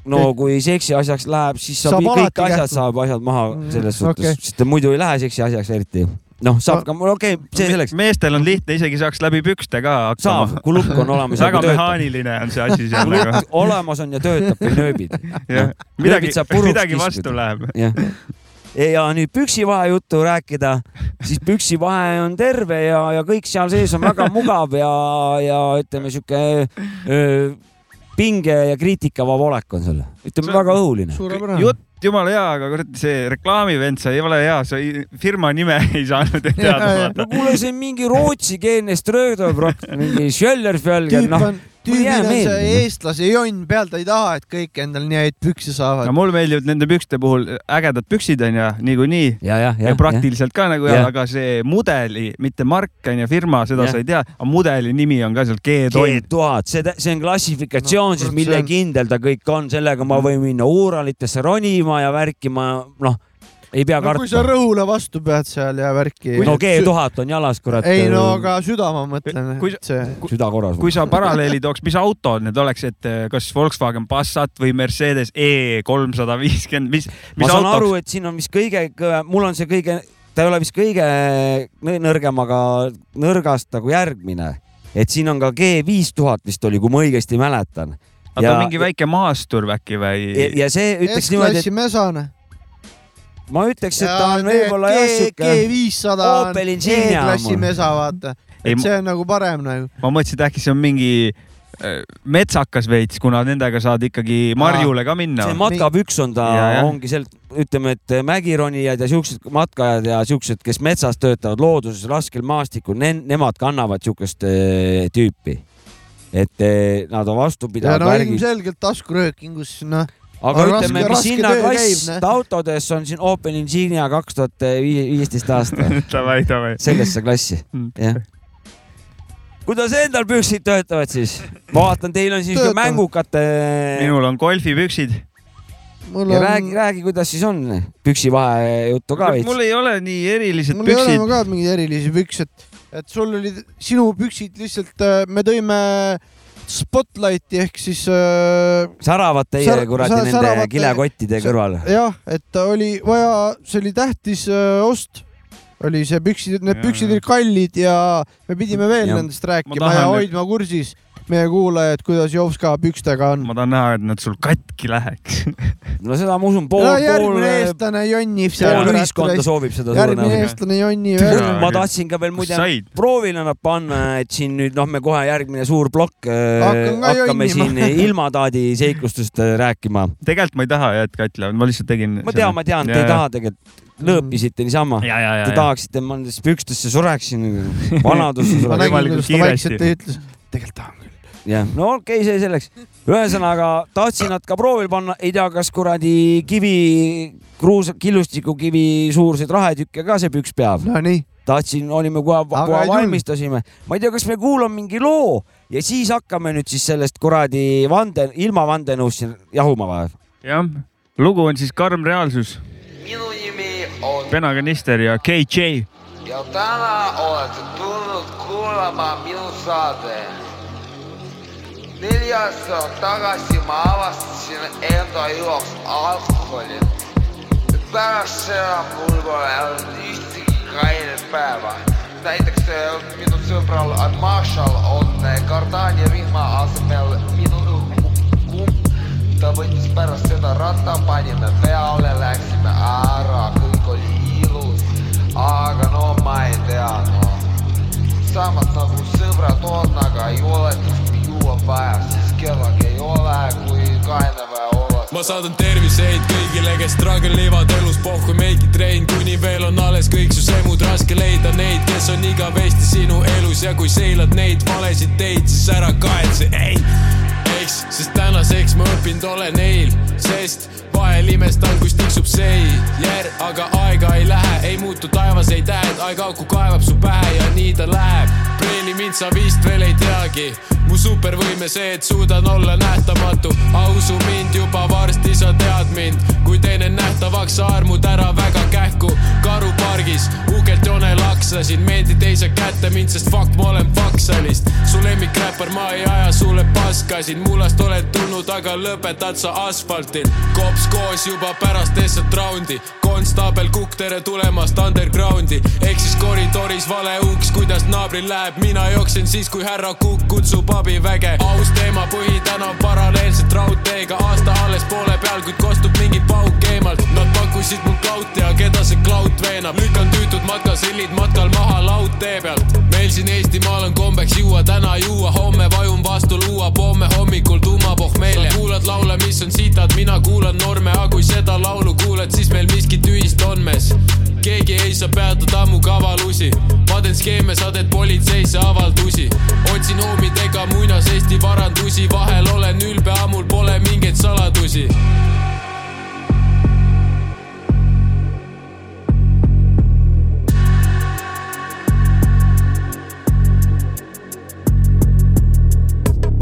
no kui seksi asjaks läheb , siis saab, Saab saab kõik alati asjad , kähku. saab asjad maha Mm, selles suhtes okei. okay. , sest ta muidu ei lähe seksi asjaks eriti . noh , saab ka , okei okay, , see selleks , meestel on lihtne , isegi saaks läbi pükste ka saab hakkama ., kui lukk on olemas ja väga kui töötab . mehaaniline on see asi seal nagu . olemas on ja töötab või nööbid , midagi Lööbid saab , puruks midagi kiskuda. vastu läheb . jah . ja nüüd püksivahe juttu rääkida , siis püksivahe on terve ja , ja kõik seal sees on väga mugav ja , ja ütleme , sihuke öö, pinge ja kriitikavaba olek on seal , See ütleme on- väga õhuline . suurepärane . jutt jumala hea , aga kurat , see reklaamivend , sa ei ole hea , sa ei, firma nime ei saanud Jaa, teada jaa. vaata no . kuule , see on mingi rootsikeelne Strödobrock , mingi Schöllerfjölger , tüüp noh on , tüübil jääb on see meelde. noh. eestlase jonn peal , ta ei taha , et kõik endale nii häid pükse saavad no . mul meeldivad nende pükste puhul ägedad püksid onju , niikuinii ja , ja , ja praktiliselt ka nagu ja Jah. aga see mudeli , mitte mark on ju , firma , seda Jah. sa ei tea , aga mudeli nimi on ka seal G-toit . tuhat , see , see on klassifikatsioon No, no, siis , kurat, see mille on- kindel ta kõik on , sellega ma võin minna uuralitesse ronima ja värkima , noh , ei pea no kui sa kartma . rõhule vastu pead seal ja värki . no G-tuhat on jalas , kurat . ei no . aga süda ma mõtlen , Kui et see . äh, süda korras . kui sa paralleeli tooks , mis autod need oleks , et eh, kas Volkswagen Passat või Mercedes E kolmsada viiskümmend , mis , ma mis saan auto aru , et siin on vist kõige , mul on see kõige , ta ei ole vist kõige nõ- nõrgem , aga nõrgast nagu järgmine . et siin on ka G5000 vist oli , kui ma õigesti mäletan . aga ta on mingi väike maastur äkki või ja, ? ja see ütleks niimoodi , S-klassi mesane . et ma ütleks , et ta on võib-olla jah siuke G viissada on Opel Insignia on E-klassi mul. mesa , vaata . Ei, et ma- see on nagu parem nagu . ma mõtlesin , et äkki see on mingi eh, metsakas veits , kuna nendega saad ikkagi marjule ka minna see . matkapüks on ta Ja, , jah. ongi sealt , ütleme , et mägironijad ja siuksed matkajad ja siuksed , kes metsas töötavad looduses raskel maastikul , nemad kannavad siukest eh, tüüpi . et eh, nad on ja vastupidavad no värgid , ilmselgelt taskuröökingus , noh . aga on ütleme , raske- mis raske töö käib, noh. hinnaklass näe. autodes on siin Opel Insignia kaks tuhat viisteist aasta , davai , davai . sellesse klassi Mm. , jah kuidas endal püksid töötavad siis ? ma vaatan , teil on siin Töötavad. mängukate . minul on golfipüksid . mul ja on , räägi , räägi , kuidas siis on püksivahe juttu ka veits . mul ei ole nii erilised mul ei ole ma püksid . ka mingeid erilisi pükse , et , et sul olid sinu püksid lihtsalt , me tõime Spotlighti ehk siis äh, säravad teie Sär- kuradi sär- nende säravad- kilekottide sär- kõrval . jah , et oli vaja , see oli tähtis äh, ost , oli see püksid , need Jaa, püksid jaa. olid kallid ja me pidime veel Jah. nendest rääkima ja tahan, et- hoidma kursis meie kuulajaid , kuidas Jovska pükstega on . ma tahan näha , et nad sul katki läheks . no seda ma usun , pool no , pool , äh, järgmine eestlane jonnib seal pool . ühiskonda soovib seda järgmine sulle . eestlane jonnib Tule- jälle . Jaa, ma küll. tahtsin ka veel kus muide said ? proovile nad panna , et siin nüüd noh , me kohe järgmine suur plokk äh, Hakkan ka hakkame jonnima. siin ilmataadi seiklustest äh, rääkima . tegelikult ma ei taha jah , et Katl , ma lihtsalt tegin . ma tean , ma tean , te ei taha tegelikult , lõõpisite niisama . ja , ja , ja Te , ja . tahaksite , ma nendesse pükstesse sureksin , vanadusse ma sureksin nägin , kuidas võimalikult ta kiiresti. vaikselt ütles , tegelikult tahan küll . jah , no okei okay, , see selleks . ühesõnaga tahtsin nad ka proovile panna , ei tea , kas kuradi kivi , kruus , killustikukivi suurseid rahetükke ka see püks peab . Nonii , tahtsin , olime kohe , Aga kohe ei tulnud. valmistasime . ma ei tea , kas me kuulame mingi loo ja siis hakkame nüüd siis sellest kuradi vande , ilma vandenõust siin jahuma või ? jah , lugu on siis Karm reaalsus , minu nimi on Penaganister ja KJ . ja täna olete tulnud kuulama minu saade . neli aastat tagasi ma avastasin enda jooks alkoholi. pärast seda mul pole olnud ühtegi kainet päeva. näiteks äh, minu sõbral Marshall on äh, kardaani rihma asemel minu kumb. ta võttis pärast seda ratta , panime peale , läksime ära , kõik oli ilus . aga no ma ei tea , noh samas nagu sõbrad on , aga ei ole tihti juua vaja , siis kedagi ei ole , kui kaine vaja olla . ma saadan terviseid kõigile , kes tragelivad elus pohhu meiki trein , kuni veel on alles kõik su semud , raske leida neid , kes on igavesti sinu elus ja kui seilad neid valesid teid , siis ära kahetse , ei . eks , sest tänaseks ma õppinud olen eil , sest vahel imestan , kus tiksub seier , aga aega ei lähe , ei muutu taevas , ei tähed , aeg auku kaevab su pähe ja nii ta läheb . preili mind sa vist veel ei teagi , mu supervõime see , et suudan olla nähtamatu , ausu mind juba varsti sa tead mind , kui teen nähtavaks , sa armud ära väga kähku . karupargis uhkelt joonel aksasin , meeldi teise kätte mind , sest fuck , ma olen Faksalist . su lemmikräppar , ma ei aja sulle paskasin , mullast oled tulnud , aga lõpetad sa asfaltil . kops koos juba pärast eestset raundi , konstaabel Kukk , tere tulemast undergroundi . ehk siis koridoris vale uks , kuidas naabril läheb , mina jooksen siis , kui härra Kukk kutsub abiväge . aus teema , põhitänav paralleelselt raudteega , aasta alles poole peal , kuid kostub mingi pauk eemalt . Nad pakkusid mul klaut ja keda see klaut veenab , lükkan tüütud matkasillid matkal maha laudtee pealt . meil siin Eestimaal on kombeks juua , täna juua , homme vajun vastu luua , pomme hommikul tuumapohmeelja . kuulad laule , mis on sitad , mina kuulan norme , aga kui seda laulu kuuled , siis meil miski tühist on mees keegi ei saa peatada mu kavalusi , ma teen skeeme , sa teed politseisse avaldusi , otsin hoomidega muinas Eesti varandusi , vahel olen ülbe , aga mul pole mingeid saladusi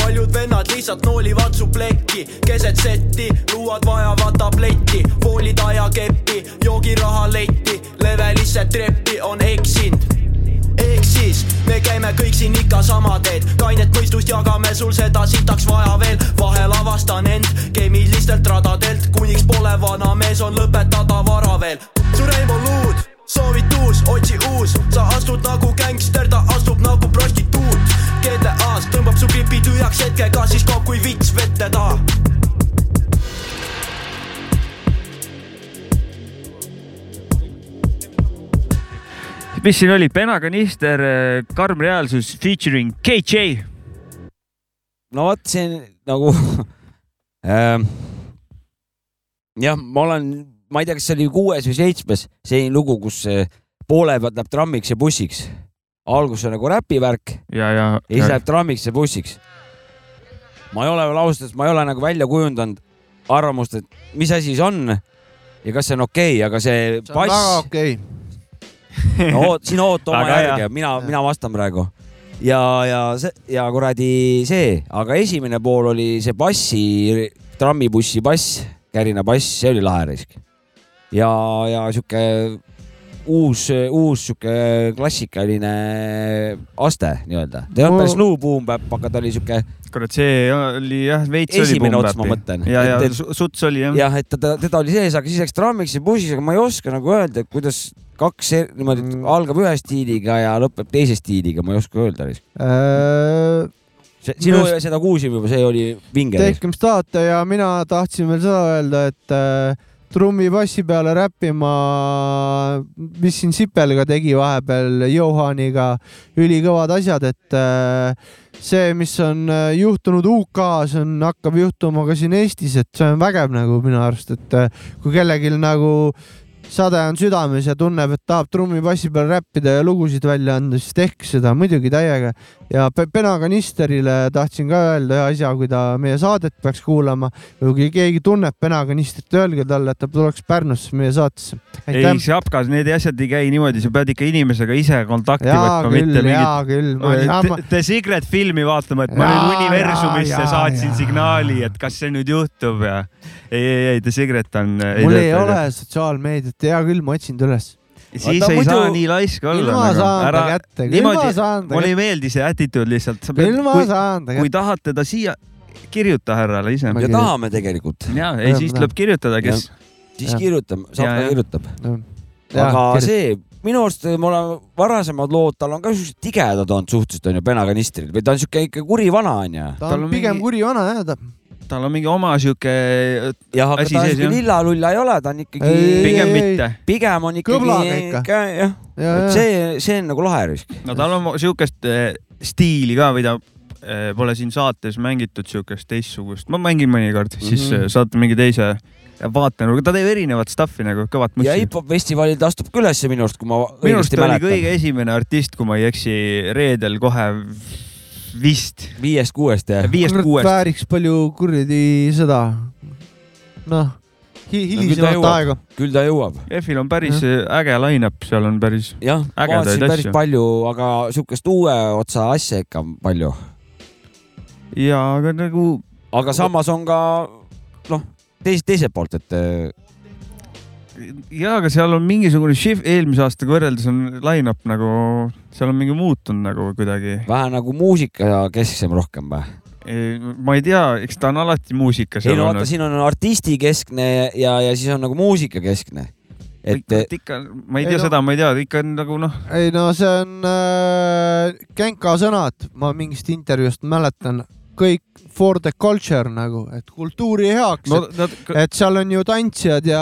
paljud vennad lihtsalt noolivad su plekki , keset setti , luuad vajavad tabletti , voolid ajakeppi , joogiraha leiti , levelisse treppi on eksinud ehk siis me käime kõik siin ikka sama teed , kainet mõistust jagame sul seda sitaks vaja veel , vahel avastan end keemilistelt radadelt , kuniks pole vana mees , on lõpetada vara veel . su reim on luud , soovid uus , otsi uus , sa astud nagu gängster , ta astub nagu prostituut . GTA-s tõmbab su pipi tühjaks hetkega , siis kaob kui vits vette taha mis siin eh, olid , Penakanister , Karm reaalsus featuring KJ . no vot siin nagu ähm, . jah , ma olen , ma ei tea , kas see oli kuues või seitsmes selline lugu , kus äh, poole pealt läheb trammiks ja bussiks . algus on nagu räpivärk ja , ja . ja siis läheb trammiks ja bussiks . ma ei ole veel ausalt öeldes , ma ei ole nagu välja kujundanud arvamust , et mis asi see on ja kas see on okei okay, , aga see see on väga bass , okei . no oot- siin oota oma Väga hea. järge , mina , mina vastan praegu . ja , ja see ja kuradi see , aga esimene pool oli see bassi , trammibussi bass , kärina bass , see oli lahe risk . ja , ja sihuke uus , uus sihuke klassikaline aste nii-öelda , ta ei olnud Ma- päris New Boom Bap , aga ta oli sihuke kurat , see oli jah , veits oli . Esimene ots, ma mõtlen. ja , ja Et- et- su- suts oli jah ja. . jah , et teda , teda oli sees , aga siis läks trammiks ja bussiks , aga ma ei oska nagu öelda , et kuidas kaks er- niimoodi et Mm. algab ühe stiiliga ja lõpeb teise stiiliga , ma ei oska öelda . Äh, sinu Äh, Minu seda kuulsime juba , see oli vinge . tehke , mis tahate ja mina tahtsin veel seda öelda , et äh, trummipassi peale räppima , mis siin Sipelga tegi vahepeal Johaniga , ülikõvad asjad , et äh, see , mis on äh, juhtunud UK-s , on , hakkab juhtuma ka siin Eestis , et see on vägev nagu minu arust , et äh, kui kellelgi nagu sade on südames ja tunneb , et tahab trummipassi peal räppida ja lugusid välja anda , siis tehke seda muidugi täiega . ja Pe- Penakanisterile tahtsin ka öelda ühe asja , kui ta meie saadet peaks kuulama või kui keegi tunneb Penakanistrit , öelge talle , et ta tuleks Pärnusse meie saatesse . ei , aitäh . Šapkas , need asjad ei käi niimoodi , sa pead ikka inimesega ise kontakti jaa võtma , küll , mitte mingit jaa küll . The, The Secret filmi vaatama , et ma Jaa, nüüd universumisse jaa, jaa, saatsin jaa. signaali , et kas see nüüd juhtub ja ei , ei , ei The Secret on . mul ei ole sotsiaalmeediat , hea küll , ma otsin ta üles . siis ei muidu... saa nii laisk olla nagu. ilma saan ta kätte, ilma saan ta mulle ei meeldi see attitude lihtsalt . Ilma saan ta kui tahad teda siia , kirjuta härrale ise . Ma- ja tahame tegelikult , ja ei , siis tuleb kirjutada , kes . siis Jah. kirjutame , Ja, saab ja. kirjutab . Jah, aga kirjutab. see , minu arust me oleme varasemad lood , tal on ka siuksed tigedad olnud suhteliselt onju , penaganistril või ta on siuke ikka kuri vana onju . ta tal on on pigem mingi- kuri vana jah , ta . tal on mingi oma sihuke , jah , aga Asi ta sees, siuke jah. lillalulla ei ole , ta on Ei, ikkagi , pigem ei, ei. mitte . pigem on Kõblaga ikkagi ikka. ikka jah , ja , ja , see , see on nagu lahe risk . no tal on sihukest eh, stiili ka , mida eh, pole siin saates mängitud , sihukest teistsugust . ma mängin mõnikord , siis Mhm. eh, saate mingi teise vaatenurga , ta teeb erinevat stuff'i nagu , kõvat ja mussi . hip-hop festivalil ta astub ka ülesse minu arust , kui ma minu arust õigesti ta oli mäletan . kõige esimene artist , kui ma ei eksi , reedel kohe vist viiest-kuuest jah ? viiest-kuuest . vääriks palju kuradi seda , noh , hilisemat jõuab. aega . küll ta jõuab . F-il on päris äge line-up , seal on päris , jah , Ägedaid vaatasin päris asju. palju , aga siukest uue otsa asja ikka on palju . ja aga nagu aga samas on ka noh , teis- , teiselt poolt , et eh, ja , aga seal on mingisugune shift eelmise aastaga võrreldes on line-up nagu , seal on mingi muutunud nagu kuidagi . vähe nagu muusika kesksem rohkem või ? ma ei tea , eks ta on alati muusikas ei no vaata ,. siin on artistikeskne ja , ja siis on nagu muusikakeskne . et eh, ikka , ma ei Ei tea no- seda , ma ei tea , ikka on nagu noh , ei no see on äh, Genka sõnad , ma mingist intervjuust mäletan , kõik for the culture nagu , et kultuuri heaks no no, . nad , et seal on ju tantsijad ja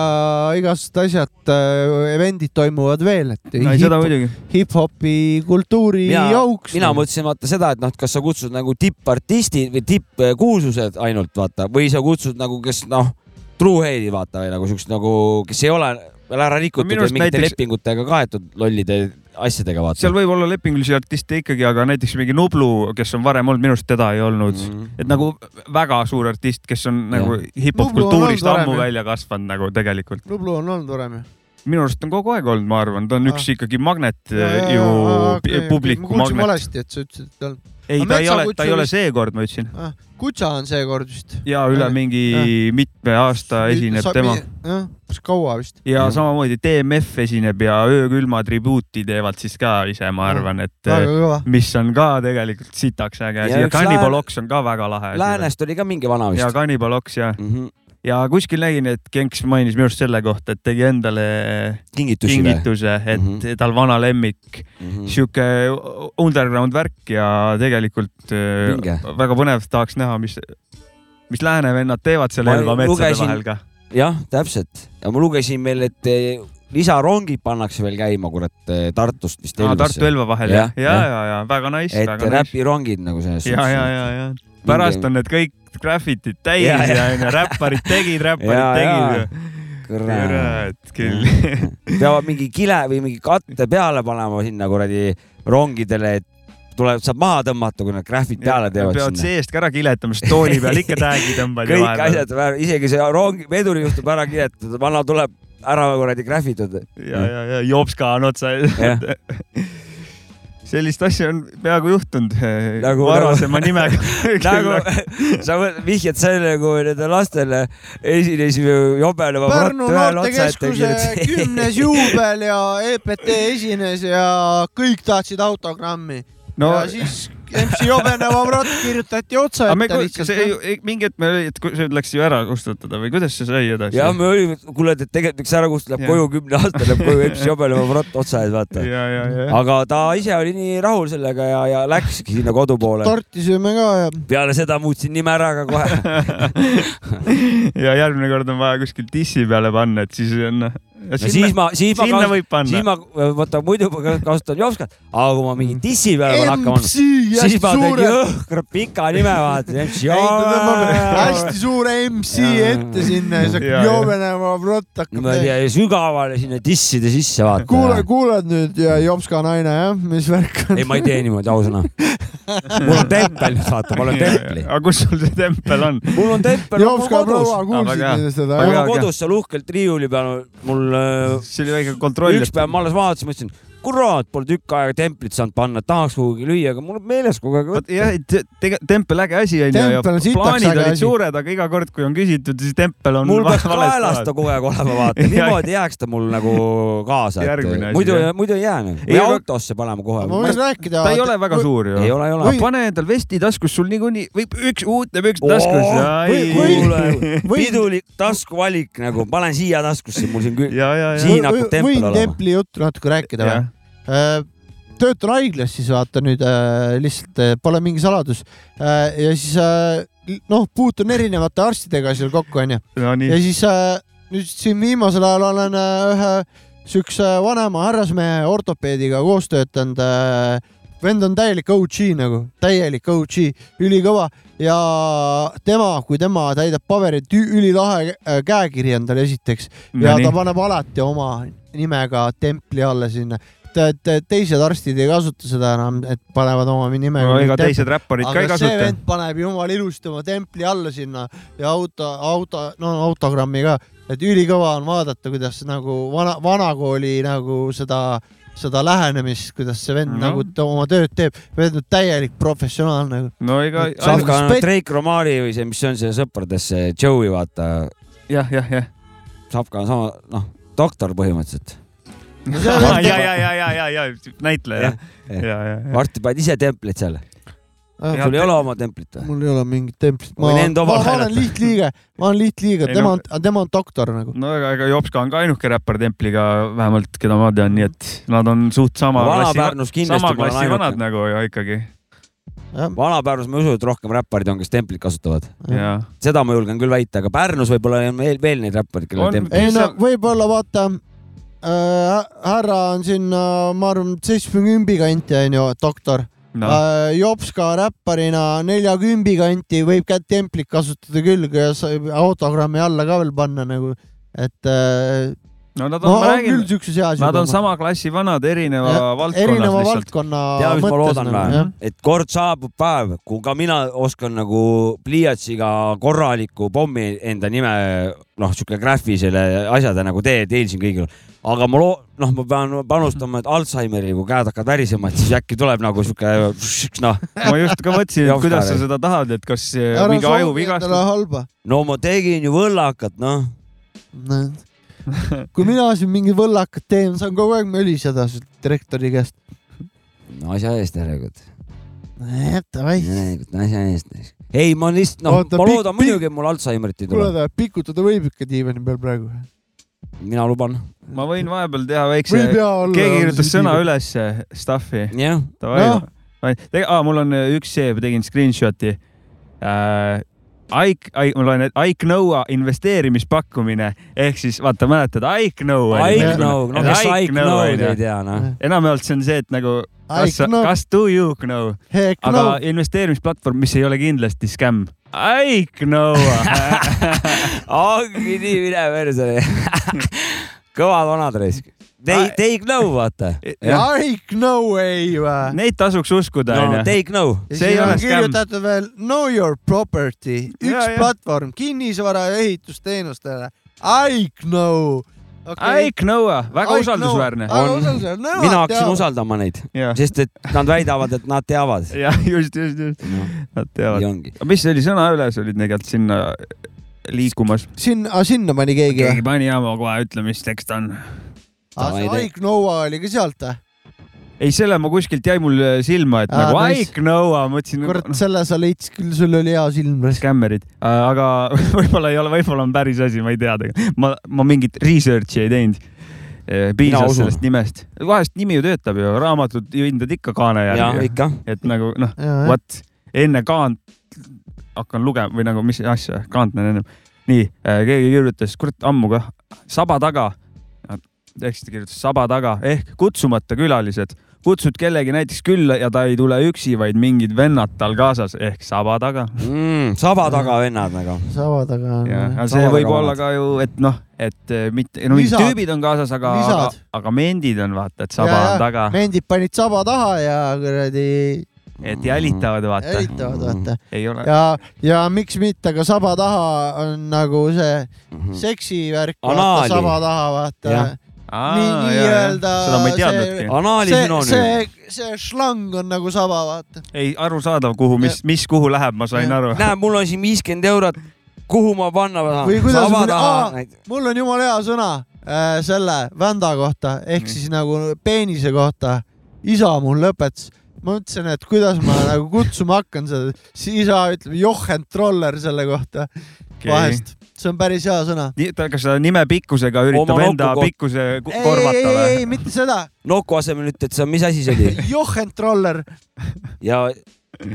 igasugused asjad äh, , event'id toimuvad veel , et ei seda muidugi . hip-hopi kultuuri mina , jauks . mina mõtlesin vaata seda , et noh , et kas sa kutsud nagu tippartistid või tippkuulsused ainult vaata või sa kutsud nagu , kes noh , true head'i vaata või nagu siuksed nagu , kes ei ole veel ära rikutud Minu või arust mingite näiteks- näiteks... lepingutega kaetud lollide asjadega vaata . seal võib olla lepingulisi artiste ikkagi , aga näiteks mingi Nublu , kes on varem olnud , minu arust teda ei olnud mm . Mhm. -hmm. et nagu väga suur artist , kes on nagu hip-hop Nublu on kultuurist olnud varem, ammu jah. välja kasvanud nagu tegelikult . Nublu on olnud varem ju . minu arust on kogu aeg olnud , ma arvan , ta on Ah. üks ikkagi magnet eh, ju , publiku ma kuulsin magnet . valesti , et sa ütlesid , et ta on . Aga ei , ta ei ole , metsakutsu ta ei ole vist- seekord , ma ütlesin . Kutsa on seekord vist . Äh, ja üle mingi mitme aasta esineb tema . jah , kas kaua vist ? ja Mhm. samamoodi DMF esineb ja Öökülma tribuuti teevad siis ka ise , ma arvan , et väga kõva . mis on ka tegelikult sitaks äge Ja asi ja üks Cannibal lääne- Ox on ka väga lahe asi . Läänest oli ka mingi vana ja vist . Cannibal Ox ja , Mm -hmm. ja kuskil nägin , et Genks mainis minu arust selle kohta , et tegi endale kingitusi või ? kingituse , et mm Mhm. -hmm. tal vana lemmik , sihuke underground värk ja tegelikult äh, Vinge. väga põnev , tahaks näha , mis , mis lääne vennad teevad seal Ma Elva metsade lugesin- vahel ka . jah , täpselt . ja ma lugesin veel , et eh, lisarongid pannakse veel käima , kurat , Tartust vist aa , Tartu Elvasse . Elva vahel jah , Jah, ja , jah. ja , ja väga nice , et väga nice . räpirongid nagu selles ja , ja , ja , ja pärast on need kõik graffitid täis ja Ja, , ja. ja onju , räpparid tegid , Ja, räpparid ja. tegid . kurat . kurat küll . peavad mingi kile või mingi katte peale panema sinna kuradi rongidele , et tuleb , saab maha tõmmata , kui nad graffid peale teevad peavad sinna . seest ka ära kiletama , sest tooli peal ikka täägi tõmbad ju kõik . asjad , isegi see rongi , vedur juhtub ära kiletada , vana tuleb ära kuradi graffitud . ja , ja , ja Jopska on otsa Jah. . sellist asja on peaaegu juhtunud Nagu- nagu, varasema nimega . nagu sa võ- vihjad sellele , kui nende lastele esinesime jobeleva Pärnu noortekeskuse kümnes juubel ja EPT esines ja kõik tahtsid autogrammi no. . no ja siis MC Jobeneva Vrot kirjutati otsa aga me , ette see ei lihtsalt . ei- mingi hetk me , et kui- see läks ju ära kustutada või kuidas see sai edasi ? ja me olime , kuule , et tegelikult üks ära kustutab Jah. koju kümne aastane , läheb koju eps jobeleva prott otsa ees , vaata . ja , ja , ja . aga ta ise oli nii rahul sellega ja , ja läkski sinna kodu poole . torti sööme ka ja peale seda muutsin nime ära ka kohe . ja järgmine kord on vaja kuskil dissi peale panna , et siis on . siis ma , siis ma sinna , võib siis panna . ma , vaata muidu ma ka- kasutan jopskat , aga kui ma mingi dissi peale pean hakkama , MC siis hästi ma teen suure , jõhkra pika nime , vaata . hästi suure MC Jaa. ette sinna ja siis Jaa, jah. hakkab Jobeneva Vrot hakkab . niimoodi sügavale sinna disside sisse vaata . kuule , kuuled nüüd ja Jopska naine jah , mis värk on ei , ma ei tee niimoodi , ausõna . mul on tempel , vaata , ma olen templi . aga kus sul see tempel on ? mul on tempel , mul on Jopska kodus . proua , Aa, kuulsid väga hea. nendest seda mul jah ? Väga on hea. kodus seal uhkelt riiuli peal , mul äh, see oli väike kontroll . üks päev ma alles vaatasin , mõtlesin , kurat , pole tükk aega templit saanud panna , tahaks kuhugi lüüa , aga mul on meeles kogu aeg . vot jah , et tegelikult tempel äge asi onju ja Tempel on sitaks plaanid äge olid asi. suured , aga iga kord , kui on küsitud , siis tempel on mul va- peaks valest kaelas kohast. ta kogu aeg olema , vaata , niimoodi jääks ta mul nagu kaasa äh, Järgmine asi, , muidu jah. , muidu ei jää nagu . Ei, või aga- autosse paneme kohe . ma võin rääkida . ta ei ole väga . suur ju . ei ole , ei ole Või- . pane endal vesti taskus , sul niikuinii võib üks uutne püks taskus . kuule , või- pidulik taskuvalik nagu , panen siia taskusse , mul siin küll . ja , ja , ja . Siin hakkab tempel võin olema. templi juttu natuke rääkida või ? töötan haiglas siis vaata nüüd äh, lihtsalt äh, pole mingi saladus äh, ja siis äh, l- noh , puutun erinevate arstidega seal kokku onju ja Nonii , siis äh, nüüd siin viimasel ajal olen äh, ühe siukse vanema härrasmehe ortopeediga koos töötanud äh, . vend on täielik OG nagu , täielik OG , ülikõva ja tema , kui tema täidab paberit , ülilahe äh, käekiri on tal esiteks ja ta nonii . paneb alati oma nimega templi alla sinna . teised arstid ei kasuta seda enam , et panevad oma nimega . ega teised räpparid ka ei aga see kasuta . vend paneb jumala ilusti oma templi alla sinna ja auto , auto , no autogrammi ka , et ülikõva on vaadata , kuidas nagu vana , vanakooli nagu seda , seda lähenemist , kuidas see vend No. no. nagu t- oma tööd teeb , vend on täielik professionaal nagu . no ega , Saab- Savka on Spett- Drake Romari või see , mis see on see sõpradesse , Joey , vaata . jah , jah , jah . Savka on sama , noh , doktor põhimõtteliselt . ja , ja , ja , ja , ja , ja näitleja . Jah. ja , ja , ja . varsti paned ise templit seal . Jah, sul ei ole oma templit või ? Ah, mul ei ole mingit templit , ma , Võin enda ma, omal ma olen näidata. lihtliige , ma olen lihtliige , Ei, tema no- on , tema on doktor nagu . no ega , ega Jopska on ka ainuke räppar templiga vähemalt , keda ma tean , nii et nad on suht sama klassi , Vana-Pärnus sama kindlasti ma klassi olen vanad ainuke . nagu ja ikkagi jah , Vana-Pärnus ma ei usu , et rohkem räpparid on , kes templit kasutavad . ja . seda ma julgen küll väita , aga Pärnus võib-olla on veel , veel neid räppareid , kellel On- templit . ei no Piisav- võib-olla vaata äh, , härra on sinna , ma arvan , seitsmekümne ümbi kanti onju , doktor no. noh , äh, . Jopska räpparina neljakümbi kanti võib kätt templit kasutada küll , ja sa- autogrammi alla ka veel panna nagu , et äh, no nad ma, on , ma on räägin küll , siukse seas . nad on sama klassi vanad erineva valdkonnas erineva lihtsalt . valdkonna tea , mis ma loodan nagu, või mõttes ., et kord saabub päev , kui ka mina oskan nagu pliiatsiga korraliku pommi enda nime , noh , sihuke graafilisele asjade nagu teie , teil siin kõigil on . aga ma loo- , noh , ma pean panustama , et Alžeimeri , kui käed hakkavad värisema , et siis äkki tuleb nagu sihuke , noh , ma just ka mõtlesin , et Jopska kuidas sa või? seda tahad , et kas eh, ära mingi soovi endale ajuvigastus . halba no ma tegin ju võllakat , noh . Näed. kui mina siin mingi võllakat teen , saan kogu aeg möliseda sealt direktori käest . asja eest , järelikult . davai järelikult asja eest . ei , ma lihtsalt , noh , Oota, ma pikk- loodan muidugi , et mul Alžeimerit ei kuule tule . ta pikutada võib ikka diivani peal praegu . mina luban . ma võin vahepeal teha väikse võib , jaa olla . keegi kirjutas sõna . ülesse , stuff'i . jah , davai Noh. no. . Ah, mul on äh, üks see , tegin screenshot'i äh, . Ike , ma loen , et Ike Noa investeerimispakkumine ehk siis vaata , mäletad Ike Noa ? I know , no kes I know'd ei tea , noh . enamjaalt see on see , et nagu kas Ike , no , kas do you know , heck aga no . investeerimisplatvorm , mis ei ole kindlasti skämm . Ike Noa . ongi nii , mine persele . kõvad vanad raisk . They Ai- , they know , vaata . Ike no way või ? Neid tasuks uskuda no onju . they know . see ei ole skämm. kirjutatud veel know your property , üks Jaa, ja, jah. platvorm kinnisvara ja ehitusteenustele . Ike no okay. . Ike Noa , väga usaldusväärne . on . On. mina hakkasin . usaldama neid , jah , sest et nad väidavad , et nad teavad . just , just , just , nad teavad nii . ongi . aga mis see oli , sõna üles olid tegelikult sinna liikumas ? sinna , sinna pani keegi või keegi ? pani ja ma kohe ütlen , mis tekst ta on . see Ike no oli ka sealt või ? ei , selle ma kuskilt jäi mul silma , et Aa, nagu nice. Ike Noa , ma mõtlesin , kurat , noh , selle sa leidsid küll , sul oli hea silm . skämmerid , aga võib-olla ei ole , võib-olla on päris asi , ma ei tea tegelikult . ma , ma mingit research'i ei teinud . Mina piisas usun. sellest nimest . vahest nimi ju töötab ju , raamatut ju hindad ikka kaane ja järgi . ikka . et nagu noh , vot enne kaant hakkan lugema või nagu mis asja , kaant näen ennem . nii , keegi kirjutas , kurat ammu kah , saba taga . teksti kirjutas saba taga ehk kutsumata külalised , kutsud kellegi näiteks külla ja ta ei tule üksi , vaid mingid vennad tal kaasas ehk saba taga . Mm, saba taga vennad nagu . saba taga aga on . see Saba võib taga olla vanad. ka ju , et noh , et eh, mitte , no mingid Lisad. tüübid on kaasas , aga , aga, Lisad. aga mendid on vaata , et saba Ja, ja. on taga , vendid panid saba taha ja kuradi et jälitavad vaata , jälitavad , vaata . ei ole . ja , ja miks mitte ka saba Mhm. taha on nagu see seksivärk , vaata Anaali. saba taha , vaata Jah. . nii-öelda seda ma ei teadnudki . see , anaalisünonüüm . see , see šlang on nagu saba , vaata . ei , arusaadav , kuhu , mis , mis kuhu läheb , ma sain Ja. aru . näe , mul on siin viiskümmend eurot , kuhu ma panna või tahan , kuidas saba , taha . mul on jumala hea sõna äh, selle vända kohta ehk Mm. siis nagu peenise kohta . isa mul lõpetas , ma mõtlesin , et kuidas ma nagu kutsuma hakkan seda , siis isa ütleb Jochen Troller selle kohta okay. vahest , see on päris hea sõna . ta , kas ta nime pikkusega üritab Oma enda nokku ko- pikkuse ku- ei , ei , korvata ei , või ei ?, mitte seda , Noku asemel ütled sa , mis asi see oli Jochen Troller , ja ,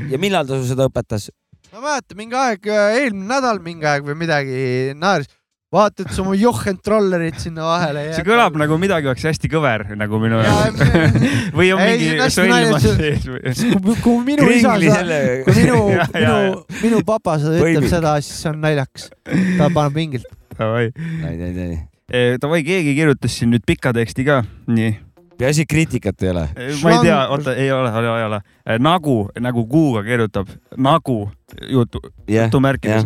ja millal ta sul seda õpetas ? ma mäletan mingi aeg , eelmine nädal mingi aeg või midagi naeris , vaata , et sa oma Jochen Trollerit sinna vahele ei see kõlab nagu midagi oleks hästi kõver nagu minu jaoks . nagu . või on Ei, mingi see on hästi sõlmas naljakas. sees või ? kui , kui minu isa kringli seda selle . kui minu , Ja, ja, minu ja. , minu papa seda ütleb Põimik. seda , siis see on naljakas . ta paneb pingilt . Davai , ei , ei , ei . davai , keegi kirjutas siin nüüd pika teksti ka , nii . peaasi , et kriitikat ei ole . ma ei tea , Šlang- oota , ei ole , ei ole , ei ole . nagu , nagu kuuga kirjutab , nagu jutu , jah , jutumärkides ,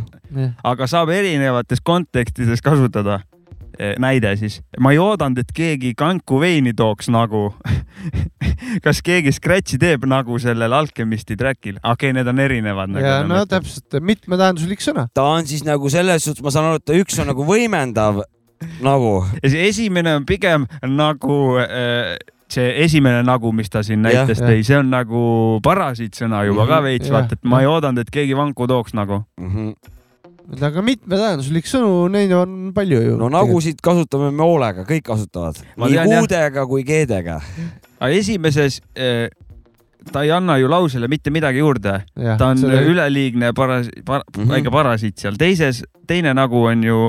aga saab erinevates kontekstides kasutada . näide siis , ma ei oodanud , et keegi kanku veini tooks nagu . kas keegi Scratchi teeb nagu sellel Alchemisti track'il , okei , need on erinevad nagu, . ja no . täpselt , mitmetähenduslik sõna . ta on siis nagu selles suhtes , ma saan aru , et ta üks on nagu võimendav nagu ja see esimene on pigem nagu äh, see esimene nagu , mis ta siin Jah, Mhm, näites jah. tõi , see on nagu parasiitsõna juba ka veits , jah, vaata , et ma ei Mhm, jah. oodanud , et keegi vanku tooks nagu . mm . -hmm. aga mitmetähenduslik sõnu , neid on palju ju . no nagusid kasutame me hoolega , kõik kasutavad . Ma nii tean, jah. kuudega kui keedega . aga esimeses äh, ta ei anna ju lausele mitte midagi juurde , ta on selle... üle . üleliigne paras- , par- , Mhm. väike parasiit seal , teises , teine nagu on ju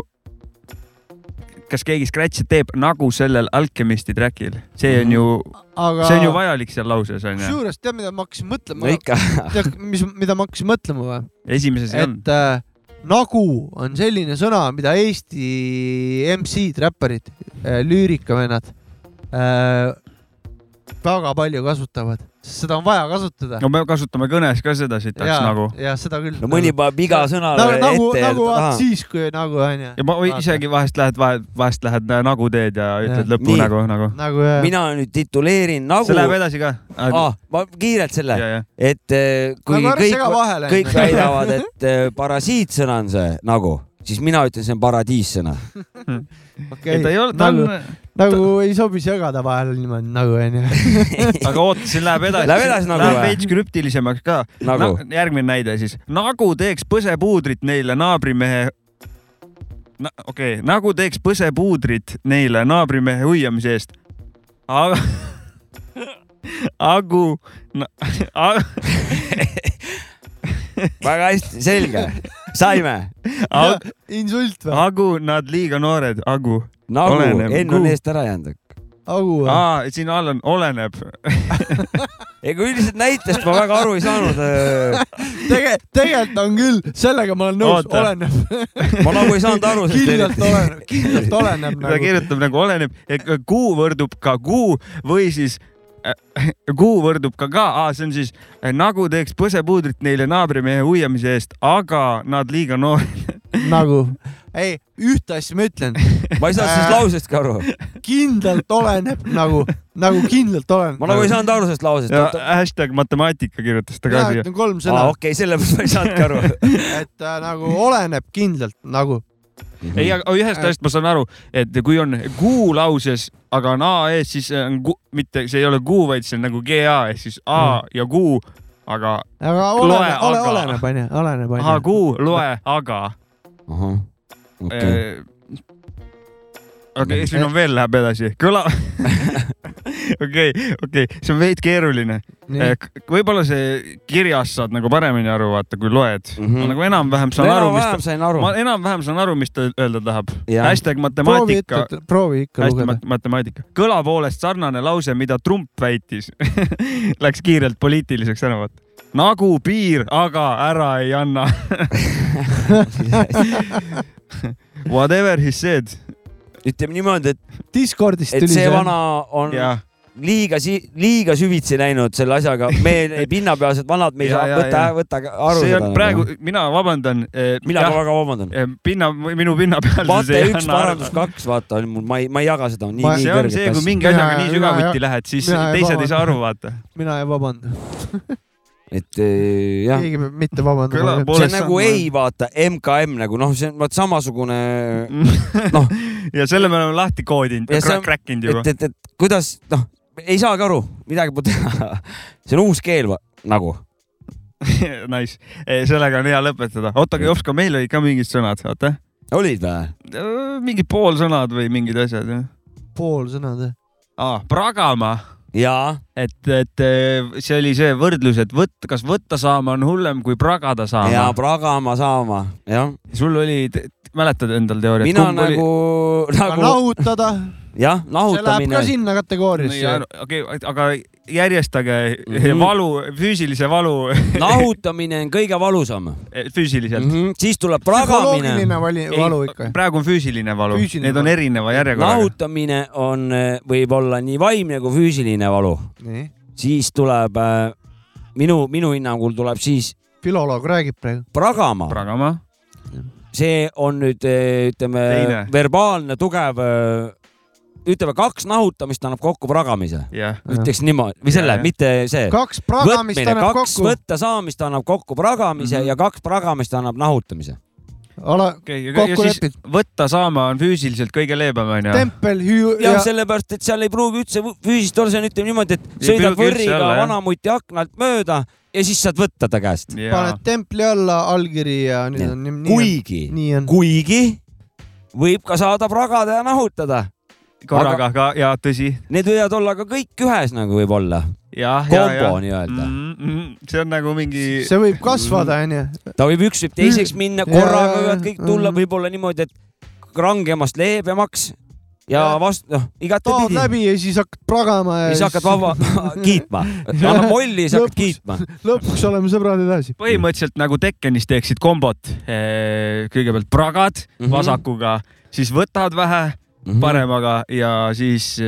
kas keegi Scratch'i teeb nagu sellel Alchemisti track'il , see on ju , Mhm. aga see on ju vajalik seal lauses on ju , kusjuures tead , mida ma hakkasin mõtlema no ? ikka . tead , mis , mida ma hakkasin mõtlema või ? esimeses ei olnud . et äh, nagu on selline sõna , mida Eesti MC-d , räpparid , lüürikavennad äh, väga palju kasutavad , sest seda on vaja kasutada . no me kasutame kõnes ka seda sitaks nagu . ja seda küll . no mõni paneb iga sõna nagu , nagu , ette nagu ja vaat taha . siis , kui nagu onju ja . ma või isegi vahest lähed , vahest lähed na- nagu teed ja ütled Jah. lõpu Nii. nagu , nagu . nagu jah . mina nüüd tituleerin nagu . see läheb edasi ka ? ah, . ma kiirelt selle , ja , et eh, kui nagu ära sega kõik , vahele . kõik väidavad , et eh, parasiitsõna on see nagu , siis mina ütlen , see on paradiissõna . ta ei olnud , ta nagu , on , nagu ei sobi segada vahele niimoodi nagu onju . aga oota , siin läheb edasi . Läheb edasi nagu Läheb või? veits krüptilisemaks ka . nagu Na, järgmine näide siis , nagu teeks põsepuudrit neile naabrimehe Na, . okei okay. , nagu teeks põsepuudrit neile naabrimehe hoiamise eest . aga , agu na, , agu, väga hästi , selge , saime insult või ? agu nad liiga noored , agu . nagu , Oleneb, Enn on kuhu. eest ära jäänud . augu või ? aa , siin all on , oleneb . ega üldiselt näitest ma väga aru ei saanud . äh. tege- , tegelikult on küll , sellega ma olen nõus , Oota. oleneb , ma nagu ei saanud aru kindlalt sellest . oleneb , kindlalt oleneb ta nagu . kirjutab nagu oleneb , et kuu võrdub ka kuu või siis äh, kuu võrdub ka ka , see on siis äh, nagu teeks põsepuudrit neile naabrimehe hoiamise eest , aga nad liiga noored . nagu , ei , ühte asja ma ütlen , ma ei Äh. saanud sellest lausestki aru . kindlalt oleneb nagu , nagu kindlalt oleneb . ma nagu ei saanud aru sellest lausest . ja aa , hashtag matemaatika kirjutas ta ka mina siia . ütlen kolm sõna , okei , sellepärast ma ei saanudki aru . et äh, nagu oleneb kindlalt nagu . Mhm. Äh. ei , aga ühest asjast ma saan aru , et kui on kuu lauses , aga on a ees , siis on ku, mitte , see ei ole kuu , vaid see on nagu ga ehk siis a ja kuu , aga Mhm. aga Loe oleneb , ole, aga. oleneb onju , oleneb a onju . kuu loe aga . okei , okei , siin on veel , läheb edasi , kõla . okei , okei , see on veidi keeruline . võib-olla see kirjas saad nagu paremini aru , vaata , kui loed mm . Mhm. -hmm. nagu enam-vähem saan aru , mis ta enam-vähem sain aru ma . enam-vähem saan aru , mis ta öelda tahab . Jah. hashtag proovi matemaatika , ikka , proovi ikka hästi lugeda . mat- matemaatika . kõla poolest sarnane lause , mida Trump väitis . Läks kiirelt poliitiliseks ära , vaata . nagu piir , aga ära ei anna . Whatever he said . ütleme niimoodi , et , Discordist et tuli see see . vana on jah , liiga si- , liiga süvitsi läinud selle asjaga , me pinnapealsed vanad , me ei Ja, saa , ja, võta ja. , võta aru . see on praegu , mina vabandan . mina ka väga vabandan . pinna , minu pinna peal . vaata üks , parandus kaks , vaata , ma ei , ma ei jaga seda nii , Ma- nii see on see , kui kõrgelt . mingi Mina- asjaga nii mina sügavuti ja- lähed , siis mina ja teised ei saa aru , vabandan. vaata . mina ei vabanda , et eh, jah , keegi peab mitte vabandama Kõlab- . see on Poolest nagu sama. ei , vaata , MKM nagu noh , see on vaat samasugune , ja selle me oleme lahti koodinud Ja see , on- crack inud juba et ,. et , et kuidas noh , ei saagi aru , midagi pole teha . see on uus keel va- nagu . Nice , sellega on hea lõpetada . oota , aga Jopska , meil olid ka mingid sõnad , oota . olid või ? mingid poolsõnad või mingid asjad . pool sõna tee . aa , pragama , jaa , et , et eh, see oli see võrdlus , et võt- , kas võtta saama on hullem kui pragada ja saama . pragama saama , jah . sul oli , mäletad endal teooriat ? mina nagu , aga nagu nahutada , jah , see läheb ka nahutamine . sinna kategooriasse . okei , aga järjestage mm Mhm. -hmm. valu , füüsilise valu nahutamine on kõige valusam füüsiliselt mm . mm . -hmm. siis tuleb pragamine . psühholoogiline vali- Ei, valu ikka . praegu on füüsiline valu , Füüsiline need on valu. erineva järjekorraga . nahutamine on , võib olla nii vaimne kui füüsiline valu , nii , siis tuleb äh, minu , minu hinnangul tuleb siis filoloog räägib praegu . pragama , pragama , see on nüüd äh, ütleme Teine. verbaalne tugev , ütleme kaks nahutamist annab kokku pragamise , jah . ütleks niimoodi või selle Ja, , ja. mitte see . kaks pragamist võtmine , annab kaks kokku kokku. . võtta saamist annab kokku pragamise mm Mhm. -hmm. ja kaks pragamist annab nahutamise . ala , okei , ja Kokku siis lepitud. võtta saama on füüsiliselt kõige leebem , onju . tempel , hüü ja jah ja. , sellepärast , et seal ei pruugi üldse võ- füüsiliselt olla , see on ütleme niimoodi , et Ei sõidad pruugi üldse võrriga olla, jah. vanamuti aknalt mööda ja siis saad võtta ta käest . paned templi alla allkiri ja nüüd Nii. on nii- nii . kuigi , nii on . kuigi võib ka saada pragada ja nahutada . korraga ka ja tõsi , Need võivad olla ka kõik ühes nagu võib-olla , jah , ja , ja kombo . nii-öelda . see on nagu mingi , see võib kasvada , Mm. onju . ta võib üks , võib teiseks minna , Ja, korraga ja, võivad ja. kõik tulla , Mhm. võib-olla niimoodi , et rangemast leebemaks ja Ja. vast- , noh , taod igatepidi . läbi ja siis hakkad pragama ja siis hakkad vaba kiitma , annab molli , siis hakkad Lõpuks. kiitma . lõpuks oleme sõbrad edasi . põhimõtteliselt nagu Tekkenis teeksid kombot . kõigepealt pragad mm Mhm. -hmm. vasakuga , siis võtad vähe paremaga ja siis ,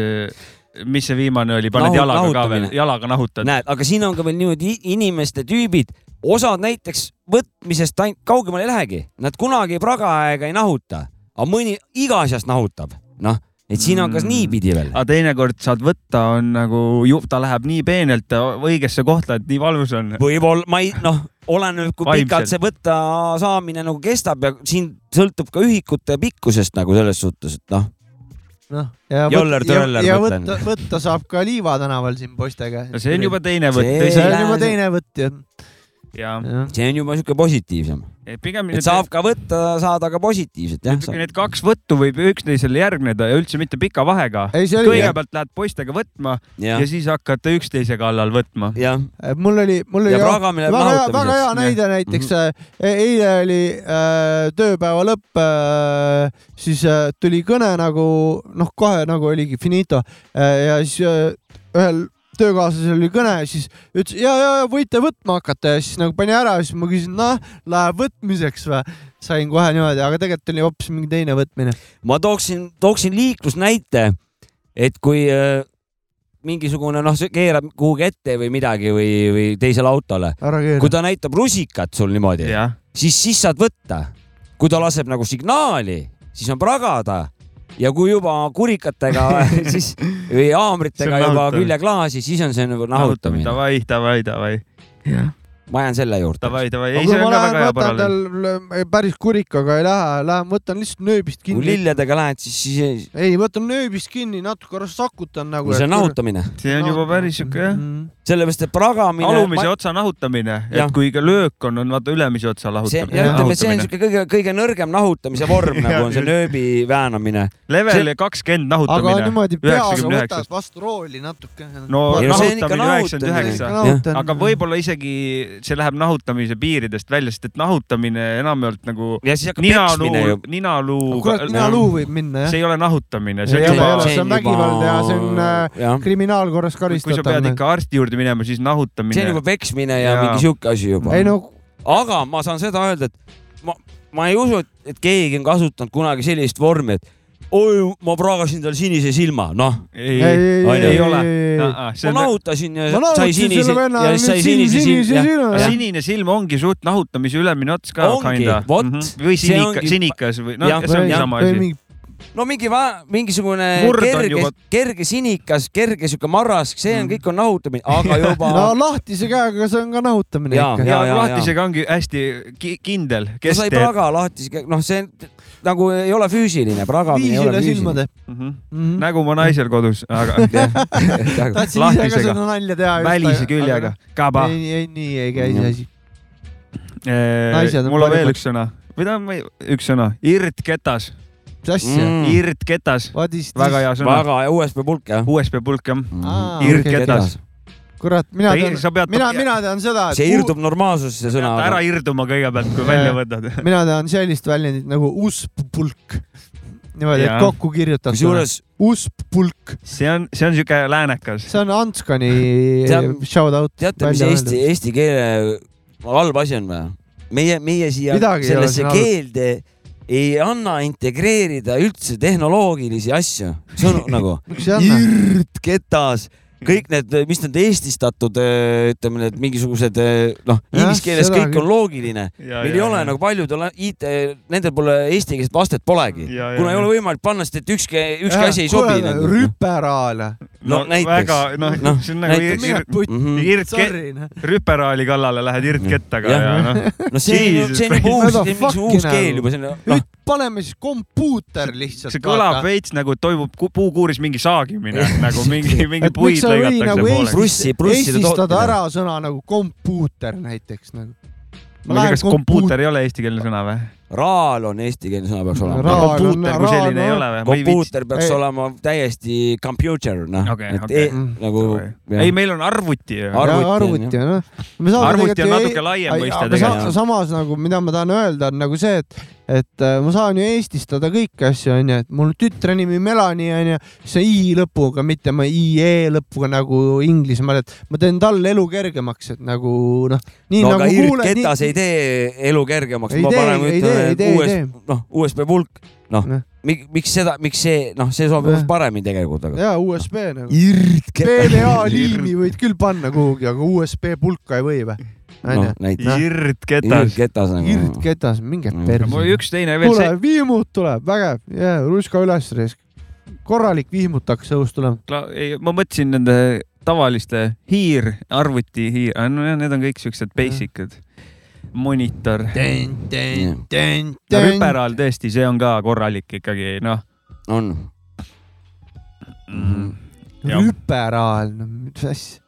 mis see viimane oli , paned Nahu- Nahu, jalaga ka nahutamine. veel , jalaga nahutad . näed , aga siin on ka veel niimoodi i- inimeste tüübid , osad näiteks võtmisest ainult kaugemale ei lähegi , nad kunagi praga aega ei nahuta , aga mõni iga asjast nahutab , noh , et siin on kas Mm. niipidi veel . aga teinekord saad võtta , on nagu , ta läheb nii peenelt õigesse kohta , et nii valus on . võib-olla ma ei , noh , oleneb , kui Vaimselt. pikalt see võtta saamine nagu kestab ja siin sõltub ka ühikute pikkusest nagu selles suhtes , et noh , noh , ja, Joller võt- ja, Töller ja mõtlen. võtta , võtta saab ka Liiva tänaval siin poistega . see on juba teine See- võtt see tõsi on juba teine võtt ju . ja see on juba niisugune positiivsem , et pigem et need, saab ka võtta , saada ka positiivset jah . need kaks võttu võib üksteisele järgneda ja üldse mitte pika vahega . ei , see oli , kõigepealt lähed poistega võtma ja, ja siis hakkate üksteise kallal võtma . jah , Äh, mul oli , mul oli ja väga pragamine läheb väga hea , väga hea nahutamiseks . näide näiteks Mhm. mm , -hmm. eile oli äh, tööpäeva lõpp äh, , siis äh, tuli kõne nagu noh , kohe nagu oligi finito äh, ja siis äh, ühel töökaaslasel oli kõne , siis ütles ja , ja ja võite võtma hakata ja siis nagu pani ära , siis ma küsisin , noh , läheb võtmiseks või ? sain kohe niimoodi , aga tegelikult oli hoopis mingi teine võtmine . ma tooksin , tooksin liiklusnäite , et kui äh, mingisugune noh , see keerab kuhugi ette või midagi või , või teisele autole , ära keera kui . ta näitab rusikat sul niimoodi , jah , siis , siis saad võtta . kui ta laseb nagu signaali , siis on pragada ja kui juba kurikatega siis või haamritega See on juba nahutamine. küljeklaasi , siis on see nagu nahutamine . davai , davai , davai , ma jään selle juurde . davai , davai , ei aga see kui ma on ka lähen väga hea võtan paralleel . tal äh, päris kurikaga ei lähe , lähen võtan lihtsalt nööbist kui kinni . lilledega lähed , siis , siis ei , võtan nööbist kinni , natuke rassakutan nagu . see on nahutamine , see on juba päris siuke jah , sellepärast et pragamine . alumise otsa nahutamine , Jah. et kui ka löök on , on vaata ülemise otsa see , lahutamine . ja ütleme , see on niisugune kõige , kõige nõrgem nahutamise vorm nagu on see nööbi väänamine . level kakskümmend aga nahutamine . niimoodi peaga üheksakümne võtad üheksast. vastu rooli natuke . no Ei, no see on ikka nahutamine üheksakümmend nahutamine. üheksa . aga . võib-olla isegi see läheb nahutamise piiridest välja , sest et nahutamine enamjaalt nagu ja siis hakkab peksmine ninaluu ju ,. ninaluu . kurat , mina luu võib minna jah . see ei ole nahutamine , see Ei ole, on juba ei ole. , see on vägivald ja see on, äh, jah , kriminaalkorras noh. kui sa pead karistatav . ikka arsti juurde minema , siis see on juba nahutamine . peksmine ja, ja. Jaa. mingi sihuke asi juba ei . no aga ma saan seda öelda , et ma , ma ei usu , et keegi on kasutanud kunagi sellist vormi , et oi , ma praagasin tal sinise silma , noh . Ei, ei , ei, ei, ei, ei ei, ole ei, ei. . ma nahutasin ja ma sai naeratasin sinise selle , venna ja siis sai sinise silma . silma . sinine silm ongi suht nahutamise ülemine ots ka . Ongi, vot. või See sinika ongi- , sinikas või noh Jah, , see ongi sama asi . no mingi va- , mingisugune Murd on kerge juba- , Mm. kerge sinikas , kerge sihuke marrask , see on , kõik on nahutamine , aga juba no lahtise käega , see on ka nahutamine Jaa, ikka . ja jaa, jaa, lahtisega ongi hästi ki- kindel , ta kes sai teeb . praga lahti , noh , see nagu ei ole füüsiline , pragamine ei ole viisile silma füüsiline . Mhm. teeb . tahtsin Mhm. nägu mu naisel kodus , aga ise ka lahtisega. seda nalja teha . välise küljega . kaba . ei , ei nii ei käi see asi . Naised on mul on veel paremad. üks sõna või ta on või- üks sõna , irdketas , mis asja ? Mm. irdketas , What is this ? väga hea sõna . väga Mm. USB pulk jah . USB pulk jah . Aa, irdketas . kurat , mina tean , sa pead , mina , mina tean seda , see irdub normaalsusesse see sõna . ära irduma kõigepealt , kui välja võtad . Äh, mina tean sellist väljendit nagu usp-pulk . niimoodi , Jaa. et kokku kirjutatud . kusjuures usp-pulk , see on , see on siuke läänekas . see on Antskani Tead- shout out . teate , mis Välja eesti , eesti keele halb asi on või ? meie , meie siia Midagi ei ole sellesse siin halba. keelde ei anna integreerida üldse tehnoloogilisi asju , sõnu nagu miks ei anna ? irdketas , kõik need , mis need eestistatud , ütleme need mingisugused öö, noh , Jah, inglise keeles seda kõik küll. on loogiline . meil ei ole nagu paljudel IT , nendel pole eestikeelset vastet polegi , Ja, ja, kuna ei ja. ole võimalik panna , sest et ükski , ükski asi ei sobi nagu . rüperaale . no näiteks. väga , noh Noh, , see on nagu näiteks. ir- ir- Mhm. irdke- , Sorry , noh . rüperaali kallale lähed irdkettaga Jah. ja noh , no see on , Jesus see on juba uus , Christ. see on mingisugune uus keel juba , see on noh , nüüd paneme siis kompuuter lihtsalt . see kõlab . veits nagu toimub ku- puukuuris mingi saagimine , nagu mingi , mingi Et miks puid sa ei või lõigatakse nagu pooleks . prussi , prussi eestistada ära sõna nagu kompuuter näiteks nagu . ma ei tea , kas kompuuter ei ole eestikeelne sõna või ? raal on eestikeelne sõna peaks olema . Raal on- kompuuter kui raal selline ei on- ole või ? ma ei viitsi . kompuuter peaks Ei. olema täiesti computer , noh Okei, et okei. e- nagu ei , meil on arvuti ju . Ar- arvuti, arvuti Mm. arvuti on jah . arvuti on natuke laiem mõiste tegelikult. tegelikult . samas nagu , mida ma tahan öelda , on nagu see , et , et äh, ma saan ju eestistada kõiki asju , onju , et mul tütre nimi Melanie onju , see i lõpuga , mitte ma ie lõpuga nagu Inglismaal , et ma teen talle elu kergemaks , et nagu noh , nii no nagu aga kuuled , irketas ei tee elu kergemaks , Ei ma tee, ei panen , tee, ei ütlen tee, ei , uues , noh , USB pulk , noh Noh. , miks seda , miks see , noh , see sobib Jah. paremini tegelikult , aga jaa , USB nagu . irketas , PDA liimi võid küll panna kuhugi , aga USB pulka ei või või ? noh onju , näiteks irdketas . irketas nagu , irdketas , minge Mm. perse . mul üks teine veel kuule see ,, vihmud tuleb , vägev , jaa , ruska üles raisk . korralik vihmut hakkas õhust tulema . ma mõtlesin nende tavaliste hiir , arvuti hiir , no jah, need on kõik siuksed basic ud . monitor , rüperaal tõesti , see on ka korralik ikkagi , noh . on . Jah. rüperaal , Mm. no mis asja ,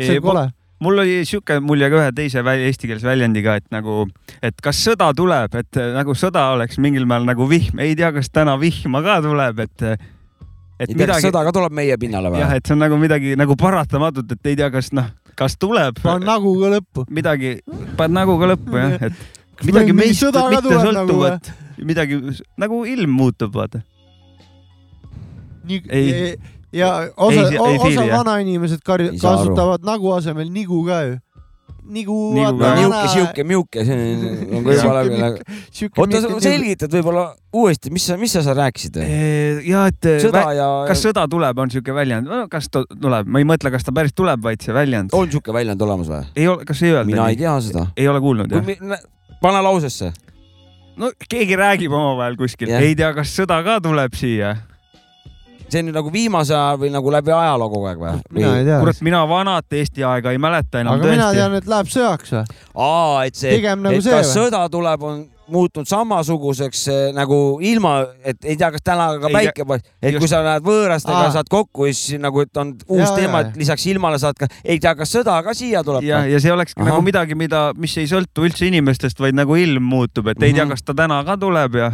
see on kole . mul oli sihuke mulje ka ühe teise väl- eestikeelse väljendiga , et nagu , et kas sõda tuleb , et eh, nagu sõda oleks mingil määral nagu vihm , ei tea , kas täna vihma ka tuleb , et , et ei tea , kas midagi , sõda ka tuleb meie pinnale või jah ,? et see on nagu midagi nagu paratamatut , et ei tea , kas noh , kas tuleb panen nagu ka lõppu . midagi , paned nagu ka lõppu jah , et Kas midagi meil mingi meist sõda ka mitte tuleb nagu, sõltuvat , midagi s- nagu ilm muutub , vaata . Ei. e- ja Ei, osa see- , ei fiili, osa jah. vanainimesed karju- Ei saa aru. kasutavad nagu asemel nigu ka ju . nigu . Nigu no Nagu ka. niuke , siuke , miuke , see on- on ka juba läbi läinud . oota , sa selgitad võib-olla uuesti , mis sa , mis sa seal rääkisid ? ja et äh, eh, sõda vä- ja kas sõda tuleb , on siuke väljend , kas ta tuleb , ma ei mõtle , kas ta päris tuleb , vaid see väljend . on siuke väljend olemas või ? ei ole , kas ei öelda mina ei nii ? tea seda . ei ole kuulnud jah ? pane lausesse . no keegi räägib omavahel kuskil , Jah. ei tea , kas sõda ka tuleb siia . see on nüüd nagu viimase aja või nagu läbi ajaloo kogu aeg või mina ? ei tea . kurat , mina vanat Eesti aega ei mäleta enam aga mina tõesti . tean , et läheb sõjaks või ? aa , et see , Pigem nagu et see kas või? sõda tuleb , on muutunud samasuguseks eh, nagu ilma , et ei tea , kas täna ka Ei päike paistab , et kui just. sa lähed võõrastega Aa. saad kokku , siis nagu , et on uus Jaa, teema jaa, , jaa. et lisaks ilmale saad ka , ei tea , kas sõda ka siia tuleb ja , või ? ja see olekski Ahah. nagu midagi , mida , mis ei sõltu üldse inimestest , vaid nagu ilm muutub , et ei tea , Mhm. kas ta täna ka tuleb ja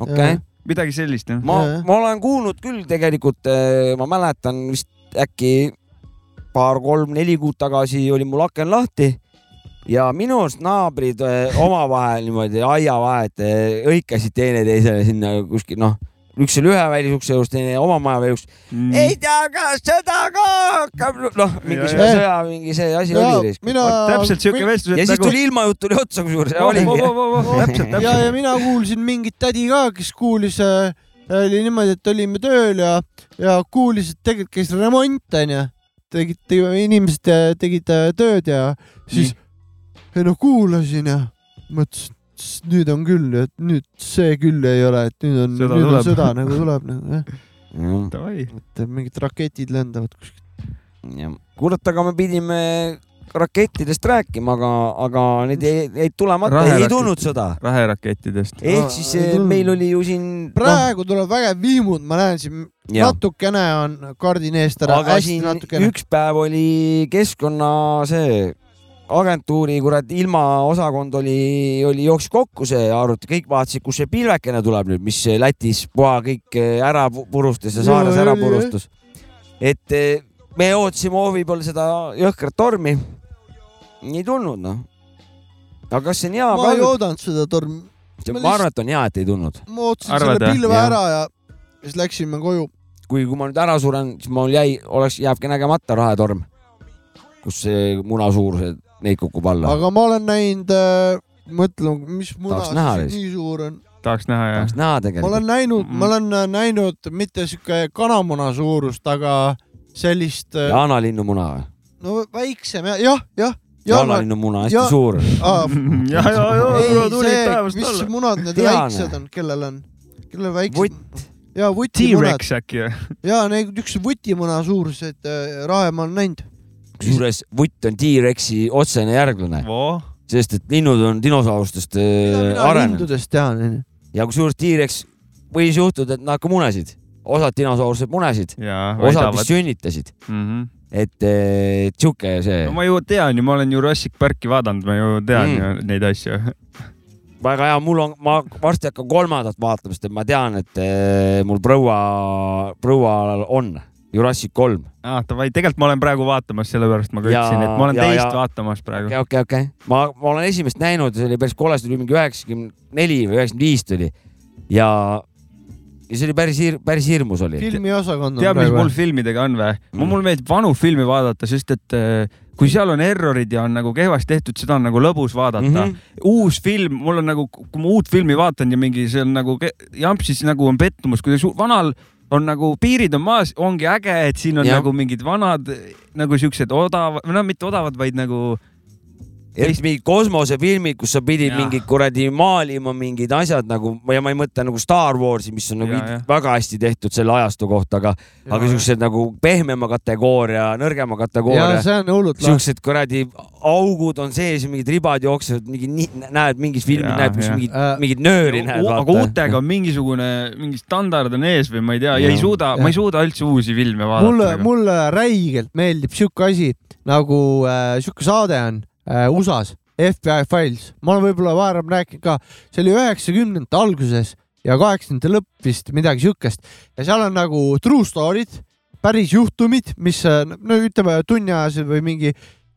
okei Jaa. , midagi sellist jah . ma Jaa. , ma olen kuulnud küll tegelikult , ma mäletan vist äkki paar-kolm-neli kuud tagasi oli mul aken lahti ja minu arust naabrid eh, omavahel niimoodi aia vahet eh, hõikasid teineteisele sinna kuskil noh , üks oli ühe välisukse juures , teine oma maja välisukse . ei tea , kas sõda ka hakkab , noh , mingisugune Jaa. sõja mingi see asi oli . mina . täpselt siuke vestlus , ja et siis nagu . tuli ilmajutt tuli otsa , kusjuures ja oligi . ja , täpselt , ja täpselt . mina kuulsin mingit tädi ka , kes kuulis äh, oli niimoodi , et olime tööl ja , ja kuulis , et tegelikult käis remont onju , tegid , inimesed äh, tegid äh, tööd ja siis , ei no kuulasin ja mõtlesin , et s- nüüd on küll , et nüüd see küll ei ole , et nüüd on , Sõda nüüd on tuleb. sõda nagu tuleb nagu jah , Davai . et mingid raketid lendavad kuskilt . kurat , aga me pidime rakettidest rääkima , aga , aga need jäid jäid tulemata , ei Raheraketid. tulnud sõda . raherakettidest . ehk siis Ei eh, tulnud. meil oli ju siin . Nagu praegu tuleb vägev vihmund , ma näen siin Jah. natukene on kardin eest ära , aga hästi siin natukene . üks päev oli keskkonna see agentuuri kurat ilmaosakond oli , oli jooksis kokku see arvuti , kõik vaatasid , kus see pilvekene tuleb nüüd , mis Lätis puha kõik ära pu- purustas ja saares Jaa, ära oli, jah. purustas . et eh, me ootasime hoovi peal seda jõhkrat tormi . ei tulnud noh . aga kas see on hea ma ei praegu ? oodanud seda tormi , ma arvan , et on hea , et ei tulnud . ma ootasin Arvad, selle jah? pilve Jah. ära ja siis läksime koju . kui , kui ma nüüd ära suren , siis mul jäi , oleks , jääbki nägemata rahetorm , kus see muna suurused , neid kukub alla . aga ma olen näinud äh, , mõtlen , mis muna Tahaks näha siis vist. nii suur on . tahaks näha jah tahaks . näha ma tegelikult . olen näinud , Mm. ma olen äh, näinud mitte sihuke kanamuna suurust , aga sellist , jaanalinnu muna või ? no väiksem jah , jah , jah . jaanalinnu muna , hästi ja- ja... suur . ja , ja , ja , ei , tulid see , päevast mis alla . munad need Teane. väiksed on , kellel on , kellel väiksed Vutt. . ja vutimunad T-Rex äkki või ? ja neid niisugused vutimuna suurused äh, rahe ma olen näinud . kusjuures vutt on T-Rexi otsene järglane , voh , sest et linnud on dinosaurustest äh, mina arenenud lindudest tean , onju . ja kusjuures T-Rex võis juhtuda , et nad ka munesid , osad dinosaurused munesid , jaa , osad väidavad Mhm. vist . sünnitasid , no et äh, sihuke see ma ju tean ju , ma olen Jurassic Parki vaadanud , ma ju tean Mm. ju neid asju . väga hea , mul on , ma varsti hakkan kolmandat vaatama , sest et ma tean , et eh, mul proua , proual on Jurassic kolm . ah , davai , tegelikult ma olen praegu vaatamas , sellepärast ma ka Ja- ütlesin , et ma olen ja- teist ja- vaatamas praegu . okei , okei , okei . ma , ma olen esimest näinud , see oli päris kole , see tuli mingi üheksakümmend neli või üheksakümmend viis tuli ja , ja see oli päris hir- , päris hirmus oli . filmiosakond on tead , mis praegu mul . filmidega on või ? Mm. mul meeldib vanu filme vaadata , sest et eh, kui seal on errorid ja on nagu kehvasti tehtud , seda on nagu lõbus vaadata mm . Mhm. -hmm. uus film , mul on nagu , kui ma uut filmi vaatan ja mingi see on nagu ke- jampsis nagu on pettumus , kuidas u- vanal on nagu piirid on maas , ongi äge , et siin on ja. Jah. nagu mingid vanad nagu siuksed odavad , no mitte odavad , vaid nagu eriti mingid kosmosefilmid , kus sa pidid Jah. mingid kuradi maalima mingid asjad nagu , ja ma ei mõtle nagu Star Warsi , mis on nagu Jaa, id- jah. väga hästi tehtud selle ajastu kohta , aga , aga siuksed nagu pehmema kategooria , ja nõrgema kategooria . see on hullult lahe . siuksed kuradi augud on sees , mingid ribad jooksevad , mingi ni- näed mingis filmis Jaa, näed , kus jah. mingid Äh, , mingid nööri näed . aga uutega on mingisugune , mingi standard eh, on ees või ma ei tea , ja ei Jah. suuda , ma ei suuda üldse uusi filme mulle , vaadata . mulle räigelt meeldib sihuke asi nagu äh, sihuke saade on äh, USA-s , FBI Files , ma olen võib-olla varem rääkinud ka , see oli üheksakümnendate alguses ja kaheksakümnendate lõpp vist midagi siukest ja seal on nagu true story'd , päris juhtumid , mis äh, no ütleme tunniajased või mingi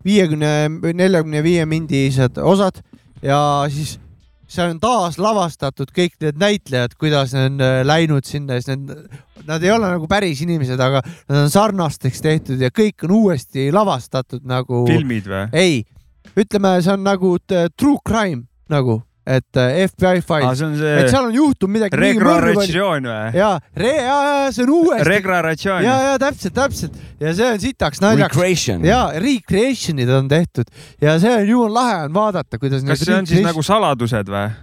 viiekümne , neljakümne viie mindised osad ja siis seal on taaslavastatud kõik need näitlejad , kuidas need on äh, läinud sinna , siis need nad ei ole nagu päris inimesed , aga nad on sarnasteks tehtud ja kõik on uuesti lavastatud nagu . filmid või ? ei , ütleme , see on nagu t- true crime nagu , et äh, FBI aa , file , Ah, see on et see seal on juhtunud midagi . regraratsioon või ? ja , ja , ja see on uuesti . regraratsioon . ja , ja täpselt , täpselt ja see on sitaks naljakas Recreation . ja recreation'id on tehtud ja see on jumal lahe on vaadata , kuidas . kas see on siis nagu saladused või ?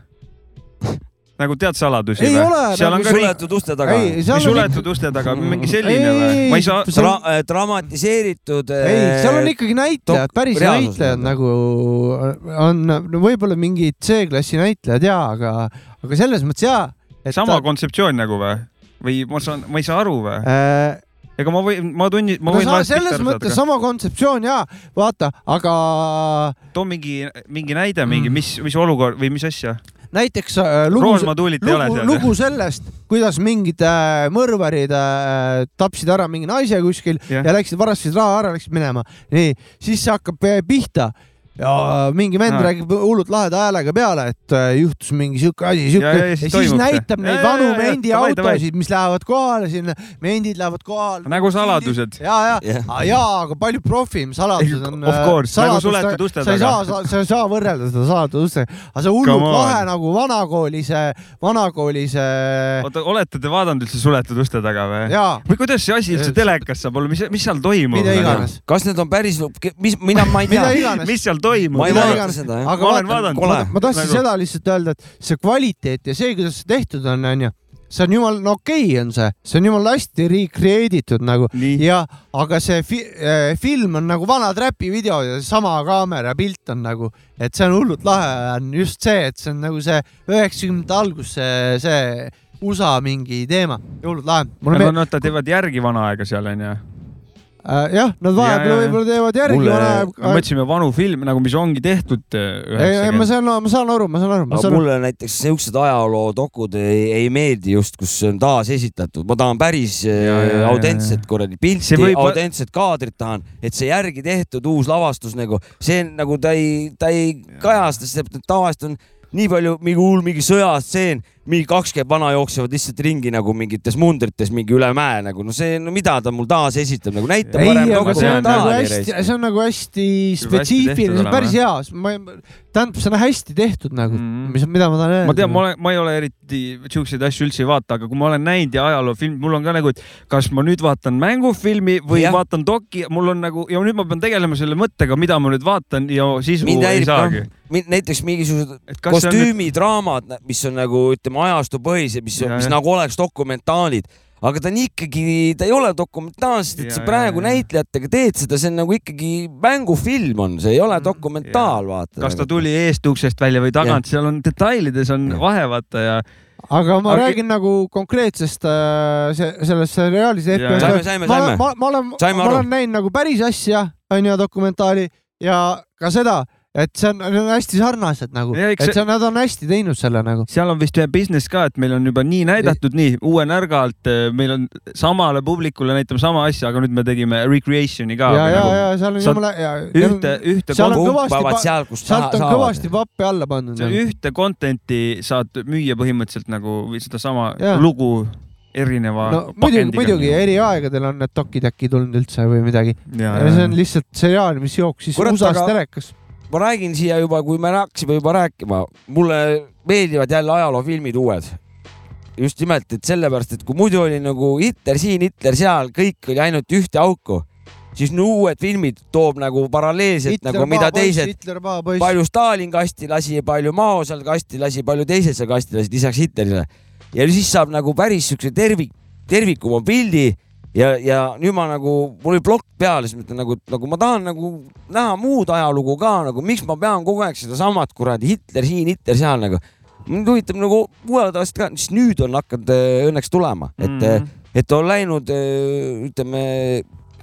nagu tead saladusi Ei või ole, ? seal nagu on ka riik , suletud uste taga . ei , mis seal on , suletud uste taga , mingi Ei, selline ei, või ei, ? ma ei saa , see on- Tra- , dramatiseeritud . ei , seal on . ikkagi näitlejad , dok- päris Äh, reaalsus näitlejad nii-öelda. nagu äh, on , no võib-olla mingid C-klassi näitlejad ja , aga , aga selles mõttes ja . sama kontseptsioon nagu või ? või ma saan , ma ei saa aru või ? äh, . ega ma võin , ma tunnin , ma no võin sa vahest selles pihta mõttes saada sama kontseptsioon ja , vaata , aga ka . too mingi , mingi näide , mingi , Mm. mis , mis olukord või mis asja ? näiteks äh, lugu , roosma tuulit ei ole lugu , seal . lugu sellest , kuidas mingid äh, mõrvarid äh, tapsid ära mingi naise kuskil ja läksid , varastasid raha ära , läksid minema . nii , siis see hakkab äh, pihta ja mingi vend Aa. räägib hullult laheda häälega peale , et äh, juhtus mingi siuke asi , siuke Ja- ja- ja ja siis siis, toimub see. näitab neid Ja- ja- vanu ja- ja, davai, davai. mendiautosid , mis lähevad kohale sinna , mendid lähevad kohale . nagu saladused . ja , ja Jah. , ja , aga palju profim saladused on . Of course, nagu suletud uste sa ei taga. saa , sa ei saa võrrelda seda salatud ustega , aga see hullult Come on. lahe nagu vanakooli see , vanakooli see oota , olete te vaadanud üldse suletud uste taga või ? ja või kuidas see asi üldse telekas saab olla , mis , mis seal toimub ? mida iganes , kas need on päris , mis , mina , ma ei mida tea . iganes . mis seal toimub ? ma ei mida vaadanud iganes. seda , jah . aga ma olen vaata , vaadanud . kole. ma tahtsin Nagu- seda lihtsalt öelda , et see kvaliteet ja see , kuidas see tehtud on , onju , see on jumal , no okei okay on see , see on jumala hästi recreate itud nagu nii , ja , aga see fi eh, film on nagu vanad räpivideod ja sama kaamera pilt on nagu , et see on hullult lahe , on just see , et see on nagu see üheksakümnendate algus , see , see USA mingi teema , hullult lahe . mulle meeldib , nad teevad järgi vana aega seal onju . Äh, jah , nad Ja, ja, vahepeal ja. võib-olla teevad järgi Mulle- vana aeg , mõtlesime vanu filme nagu , mis ongi tehtud ei , ei ma üheksakümmend . saan , ma saan aru , ma saan aru , ma aga saan aru , mulle näiteks siuksed ajaloodokud ei, ei meeldi just , kus see on taasesitatud , ma tahan päris ja, ja, ja. äh, autentset kuradi pilti See , võib- autentset kaadrit tahan , et see järgi tehtud uus lavastus nagu , see on nagu ta ei , ta ei kajasta , sest et tavaliselt on nii palju mingi hull mingi sõjastseen , mingi kakskümmend vana jooksevad lihtsalt ringi nagu mingites mundrites mingi üle mäe nagu , no see , no mida ta mul taasesitab nagu , näita ei , aga parem see on nagu dokumentaali hästi , see on nagu hästi spetsiifiline , see on olema, päris hea , ma ei , tähendab , see on hästi tehtud nagu Mhm. , mis , mida ma tahan öelda . ma tean , ma olen , ma ei ole eriti siukseid asju üldse ei vaata , aga kui ma olen näinud ja ajaloofilm , mul on ka nagu , et kas ma nüüd vaatan mängufilmi või ja. Jah. vaatan doki , mul on nagu ja nüüd ma pean tegelema selle mõttega , mida ma nüüd vaatan ja sisu mind ei häirib saagi . ka , näiteks mingisugused et kas see on nüüd , kostüümidraamad , mis on nagu ütleme ajastupõhised , mis , Ja, mis jah. nagu oleks dokumentaalid , aga ta on ikkagi , ta ei ole dokumentaal , sest Ja, et sa ja, praegu ja. näitlejatega teed seda , see on nagu ikkagi mängufilm on , see ei ole dokumentaal , vaata . Mhm, nagu. kas ta tuli eest uksest välja või tagant , seal on detailides on Ja. vahe vaata ja aga ma Aga- aga... räägin nagu konkreetsest äh, se- sellest seriaalis Jaa. FPS-ist . Saime, saime, ma, saime. ma, ma olen , Saime ma aru. olen näinud nagu päris asja , onju , dokumentaali ja ka seda , et see on , need on hästi sarnased nagu , Ja et eks see- see , nad on hästi teinud selle nagu . seal on vist ühe business ka , et meil on juba nii näidatud , nii uue närga alt , meil on samale publikule näitame sama asja , aga nüüd me tegime recreation'i ka ja , ja , nagu ja seal on sa- jumala , ja . ühte , ühte seal on kogu- kõvasti pumpavad pa- seal , kus sealt on kõvasti nagu. pappi alla pandud . see ühte content'i saad müüa põhimõtteliselt nagu või sedasama Jah. lugu erineva no muidugi , muidugi eri aegadel on need dokid äkki tulnud üldse või midagi . see on lihtsalt seriaal , mis jooksis Kurat, USA-s aga- telekas . ma räägin siia juba , kui me hakkasime juba rääkima , mulle meeldivad jälle ajaloofilmid uued . just nimelt , et sellepärast , et kui muidu oli nagu Hitler siin , Hitler seal , kõik oli ainult ühte auku , siis no uued filmid toob nagu paralleelselt Hitler nagu mida teised , Hitler paha poiss . palju Stalin kasti lasi , palju Mao seal kasti lasi , palju teised seal kasti lasid , lisaks Hitlerile . ja siis saab nagu päris siukse tervik , tervikuma pildi ja , ja nüüd ma nagu , mul oli plokk peal , siis ma ütlen nagu , nagu ma tahan nagu näha muud ajalugu ka nagu , miks ma pean kogu aeg sedasamat kuradi Hitler siin , Hitler seal nagu . mind huvitab nagu uued asjad ka , mis nüüd on hakanud äh, õnneks tulema , et mm , Mhm. -hmm. et on läinud äh, ütleme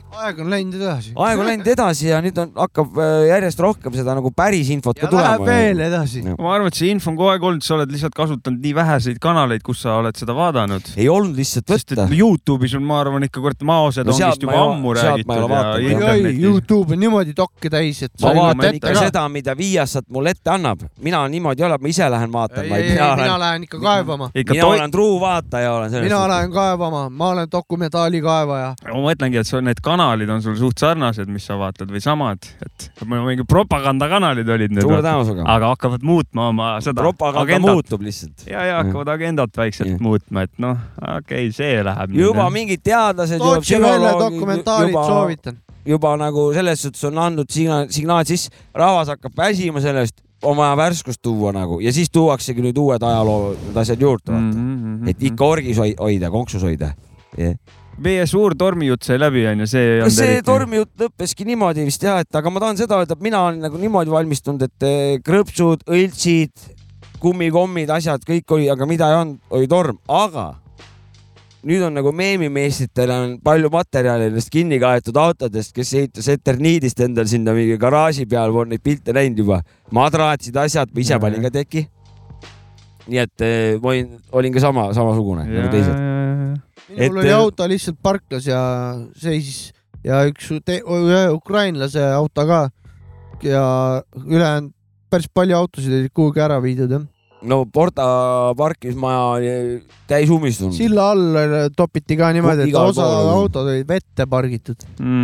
aeg on läinud edasi . aeg on läinud edasi ja nüüd on , hakkab äh, järjest rohkem seda nagu päris infot ka ja läheb tulema . veel edasi . ma arvan , et see info on kogu aeg olnud , sa oled lihtsalt kasutanud nii väheseid kanaleid , kus sa oled seda vaadanud . ei olnud lihtsalt sest et võtta . Youtube'is on , ma arvan , ikka kurat maosed No no, sealt ongi ma juba ei ole- ammu sealt ma ei räägitud ole ja vaatanud. oi , internetis . Youtube on niimoodi dokke täis , et ma sa jõuad vaatan ette ikka ka . seda , mida Viasat mulle ette annab , mina niimoodi ei ole , ma ise lähen vaatan , ei , ma ei , ei ei , pea mina . lähen ikka kaevama . ikka mina toi- , olen truu vaataja olen selles mina . lähen kaevama , ma olen dokumentaali kaevaja . ma mõtlengi , et sul need kanalid on sul suht sarnased , mis sa vaatad või samad , et mul mingi propagandakanalid olid suure need , tänusega . aga hakkavad muutma oma seda propaganda agendat . muutub lihtsalt . ja , ja hakkavad agendat vaikselt Jah. muutma , et noh , okei okay, , see läheb . Mm-hmm. juba mingid teadlased , juba otsi välja psühholoogid , dokumentaalid juba , soovitan . juba nagu selles suhtes on andnud signaal , signaal sisse , rahvas hakkab väsima sellest , on vaja värskust tuua nagu ja siis tuuaksegi nüüd uued ajaloo need asjad juurde vaata . Mm-hmm. -hmm. et ikka orgis hoi- hoida , konksus hoida yeah. . meie suur tormijutt sai läbi , onju , see ei olnud see . tormijutt lõppeski niimoodi vist jah , et aga ma tahan seda öelda , et mina olen nagu niimoodi valmistunud , et eh, krõpsud , õltsid , kummikommid , asjad kõik oli , aga mida ei olnud , oli torm , aga nüüd on nagu meemimeistritele on palju materjali nendest kinni kaetud autodest , kes ehitas Eterniidist endal sinna mingi garaaži peal , ma olen neid pilte näinud juba , madratsid , asjad , ma ise Jajah. panin ka teki . nii et eh, ma olin , olin ka sama , samasugune nagu teised . minul et- eh, äh, oli auto lihtsalt parklas ja seisis ja üks te- ühe ukrainlase auto ka ja ülejäänud päris palju autosid olid kuhugi ära viidud jah. no Porta parkimismaja oli täis ummistunud Sill... . silla all äh, topiti ka niimoodi , et Igal osa pool on. autod olid vette pargitud .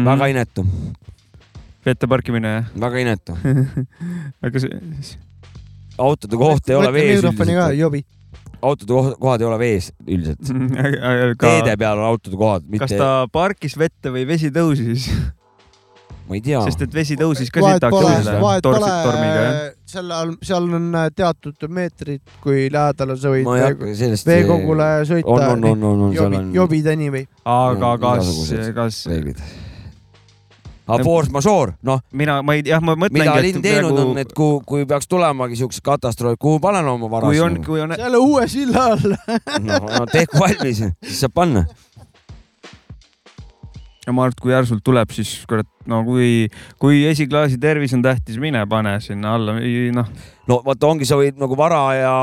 väga inetu , Mm. vette parkimine jah , väga inetu . aga see siis autode koht ei ole vees mikrofoni ka , üldiselt , jobi . autode koh- kohad ei ole vees üldiselt . ka, teede peal on autode kohad , kas mitte , ta parkis vette või vesi tõusis , ma ei tea . sest et vesi tõusis ka vahet sitaks pole seda, , vahet tormi, tormiga jah . pole , seal on , seal on äh, teatud meetrid , kui lähedal sa võid ma ei hakka sellest . veekogule on , on , sõita on , on , on , seal jobi , on jobida anyway . aga on kas , igasugused kas reeglid . aga force majeure , noh , mina , ma ei , jah , ma mida mõtlengi , linn teinud nagu... on , et kui , kui peaks tulemagi siukse katastroof , kuhu panen oma vara kui on , kui on , selle uue silla all . no, Noh, no tehku valmis , siis saab panna . ma arvan , et kui järsult tuleb , siis kurat , no kui , kui esiklaasi tervis on tähtis , mine pane sinna alla , noh , no vaata , ongi , sa võid nagu vara ja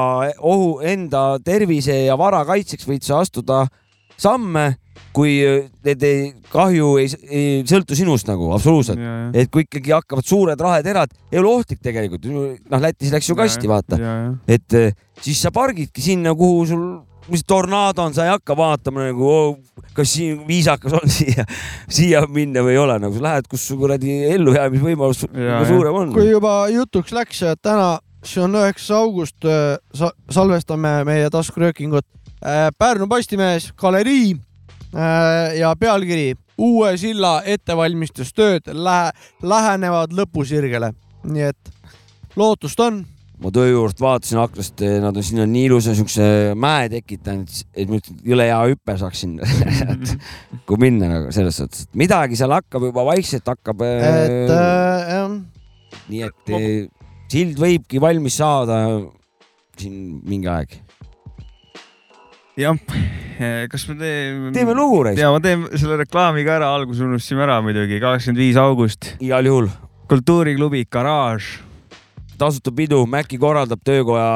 ohu enda tervise ja vara kaitseks võid sa astuda samme , kui äh, need ei, kahju ei, ei sõltu sinust nagu absoluutselt . et kui ikkagi hakkavad suured raheterad , ei ole ohtlik tegelikult , noh Lätis läks ju kasti , vaata , et eh, siis sa pargidki sinna , kuhu sul , mis tornaado on , sa ei hakka vaatama nagu , kas siin viisakas on siia , siia minna või ei ole , nagu sa lähed , kus su kuradi ellujäämisvõimalus su- Jaa, nagu suurem on . kui juba jutuks läks , täna , see on üheksas august , salvestame meie taskuröökingut . Pärnu Postimehes galerii äh, ja pealkiri uue silla ettevalmistustööd lähe, lähenevad lõpusirgele , nii et lootust on . ma töö juurest vaatasin aknast , nad on sinna nii ilusa siukse mäe tekitanud , et ma ütlesin , et jõle hea hüpe saaks sinna , kui minna nagu selles suhtes , et midagi seal hakkab juba vaikselt hakkab . et äh, jah , nii et eh, sild võibki valmis saada siin mingi aeg . jah , Eh, kas me teeme . teeme lugu reis , ja Mm. ma teen selle reklaami ka ära , alguses unustasime ära muidugi , kakskümmend viis august , igal juhul kultuuriklubi Garaaž , tasuta pidu , Maci korraldab töökoja ,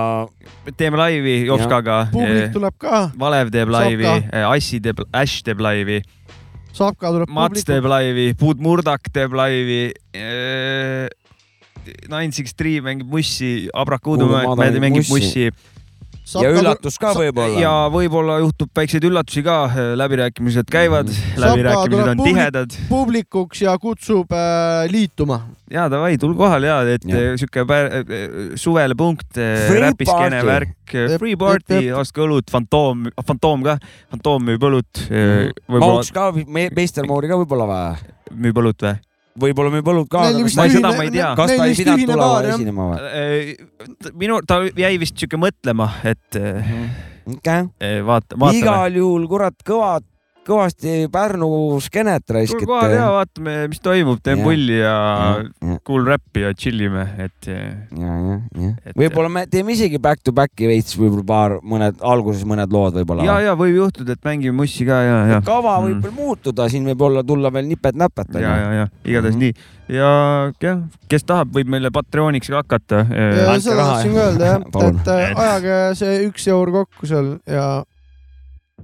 teeme laivi Jopskaga , publik tuleb ka , Valev teeb Saab laivi eh, ka. , Assi teeb , Ash teeb laivi , saab ka tuleb Mats publik . teeb laivi , Puud Murdak teeb laivi . Nine Six Three mängib mussi , Abrakuudu Kuudu mä- Maadal mängib mängib mussi. mussi ja üllatus ka ja võib-olla . võib-olla juhtub väikseid üllatusi ka , läbirääkimised käivad , läbirääkimised Mm. tuleb on publik- tihedad publikuks ja kutsub äh, liituma . ja davai , tulge kohale ja , et Jah. eh, sihuke pär- eh, suvele punkt , Free räpiskene party. värk , Jep, free jep, party , jep. ostke õlut , fantoom , fantoom ka , fantoom müüb õlut , Mauks võib-olla ka , meister Moori ka võib-olla vaja , müüb õlut või ? võib-olla müüb õlut ka . Neil vist ma ei- ühine- seda ma ei tea. Äh, kas ta neil ei vist pidanud ühine tulema baar, jah. esinema või ? minu , ta jäi vist sihuke mõtlema , et eh, Mhm. okei eh, vaata , vaatame . igal juhul kurat kõva , kõvasti Pärnu skeenet tulge kohale ja vaatame , mis toimub , teeme äh, Jah. pulli ja raiskite . cool räppi ja tšillime , et eh, Et- võib-olla me teeme isegi back to back'i veits , võib-olla paar , mõned alguses mõned lood ja , võib-olla . ja võib juhtuda , et mängime mussi ka ja , ja . kava Mm. võib veel muutuda , siin võib olla tulla veel ja , nipet-näpet onju . ja , ja igatahes Mhm. nii ja jah , kes tahab , võib meile Patreoniks ka hakata . äh, ja Andke seda raha, tahtsin jah. ka öelda jah , Palun. et äh, ajage see üks eur kokku seal ja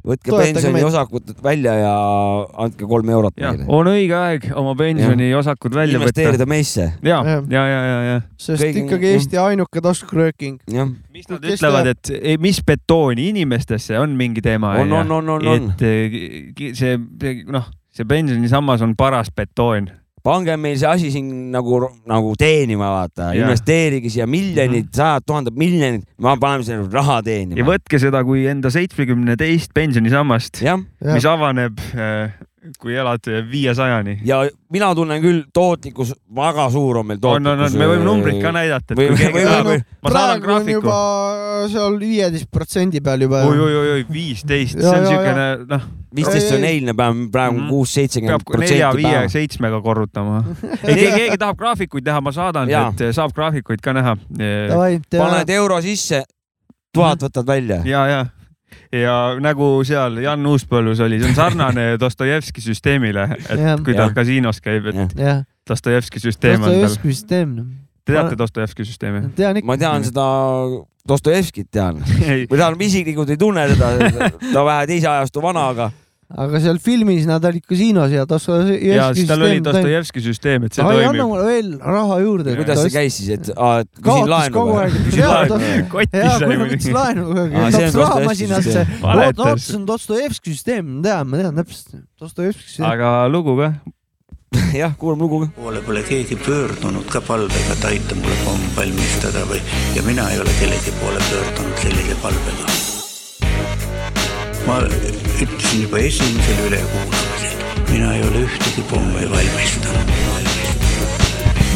võtke Toetage meid. pensioniosakud välja ja andke kolm eurot jah , meile . on õige aeg oma pensioniosakud välja võtta . investeerida meisse , ja , ja Jah. , ja , ja , ja . sest Kõigi- Kõigi, ikkagi jah. Eesti ainuke taskurööking . jah . mis nad Kes ütlevad , et ei, mis betooni inimestesse on mingi teema . on , on , on , on , on . et eh, ki- see , noh , see pensionisammas on paras betoon . pange meil see asi siin nagu , nagu teenima , vaata , Jah. Mhm. investeerige siia miljonid , sajad tuhanded miljonid , me paneme selle raha ja teenima . võtke seda kui enda seitsmekümne teist pensionisammast , jah , mis avaneb , kui elad viiesajani . ja mina tunnen küll , tootlikkus väga suur on meil on , on , tootlikkus . on , me võime numbrid ka . näidata . või- või- või- ma saadan praegu on graafiku juba seal viieteist protsendi peal juba . oi-oi-oi , viisteist , see Ja, on ja, siukene , noh , viisteist on eilne päev , praegu on Mhm. kuus , seitsekümmend peab nelja , protsenti viie , päeva . seitsmega korrutama . ei , keegi , keegi tahab graafikuid näha , ma saadan , Jaa. et saab graafikuid ka näha . ja , Davai , paned euro sisse , tuhat võtad välja . ja , Mhm. ja nagu seal Jan Uuspõllus oli , see on sarnane Dostojevski süsteemile , et Jah. kui ta Jah. kasiinos käib , et Jah. jah , Dostojevski süsteem on tal . Dostojevski süsteem , noh. Te teate Dostojevski süsteemi ? tean ikka . ma tean seda Dostojevskit tean , ei , või tähendab isiklikult ei tunne seda , ta on vähe teise ajastu vana , aga aga seal filmis nad olid kasiinos ja Dostojevski ja siis tal oli Dostojevski süsteem , et see ai , anna toimib . mulle veel raha juurde . kuidas see käis siis , et aa, et küsin kaotas laenu kogu aeg või ?, jaa , ta laenu. kotis jaa , oli kuule võttis muidugi . laenu kogu Aa, aeg , see on tahtis raha Dostojevski masinasse . süsteem. oot , oot , Valetas. see on Dostojevski süsteem , ma tean , ma tean täpselt . Dostojevski süsteem . aga lugu ka ? jah , kuulame lugu ka . poole pole keegi pöördunud ka palvega , et aita mulle pomm valmistada või ja mina ei ole kellegi poole pöördunud sellise palvega . ma ütlesin juba esimesel ülekuulamisel , mina ei ole ühtegi pommi valmistanud .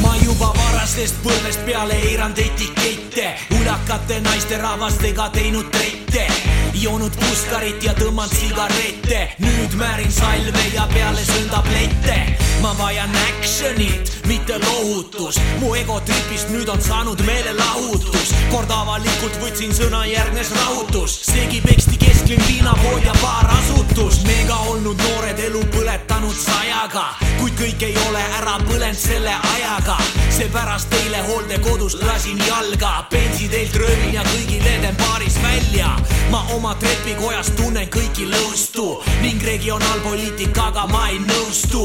ma juba varastest põlvest peale eiranud etikette , ulakate naisterahvastega teinud trette , joonud puskarit ja tõmmanud sigarette , nüüd määrin salve ja peale söön tablette . ma vajan action'it , mitte lohutust , mu ego tripist nüüd on saanud meelelahutus , kord avalikult võtsin sõna , järgnes rahutus , seegi peksti kesklinn liinapood ja paar asutust , mega olnud noored elu põletanud sajaga , kuid kõik ei ole ära põlenud selle ajaga , seepärast eile hooldekodus lasin jalga , bensi teilt röövin ja kõigil eden baaris välja . ma oma trepikojas tunnen kõiki lõustu ning regionaalpoliitikaga ma ei nõustu .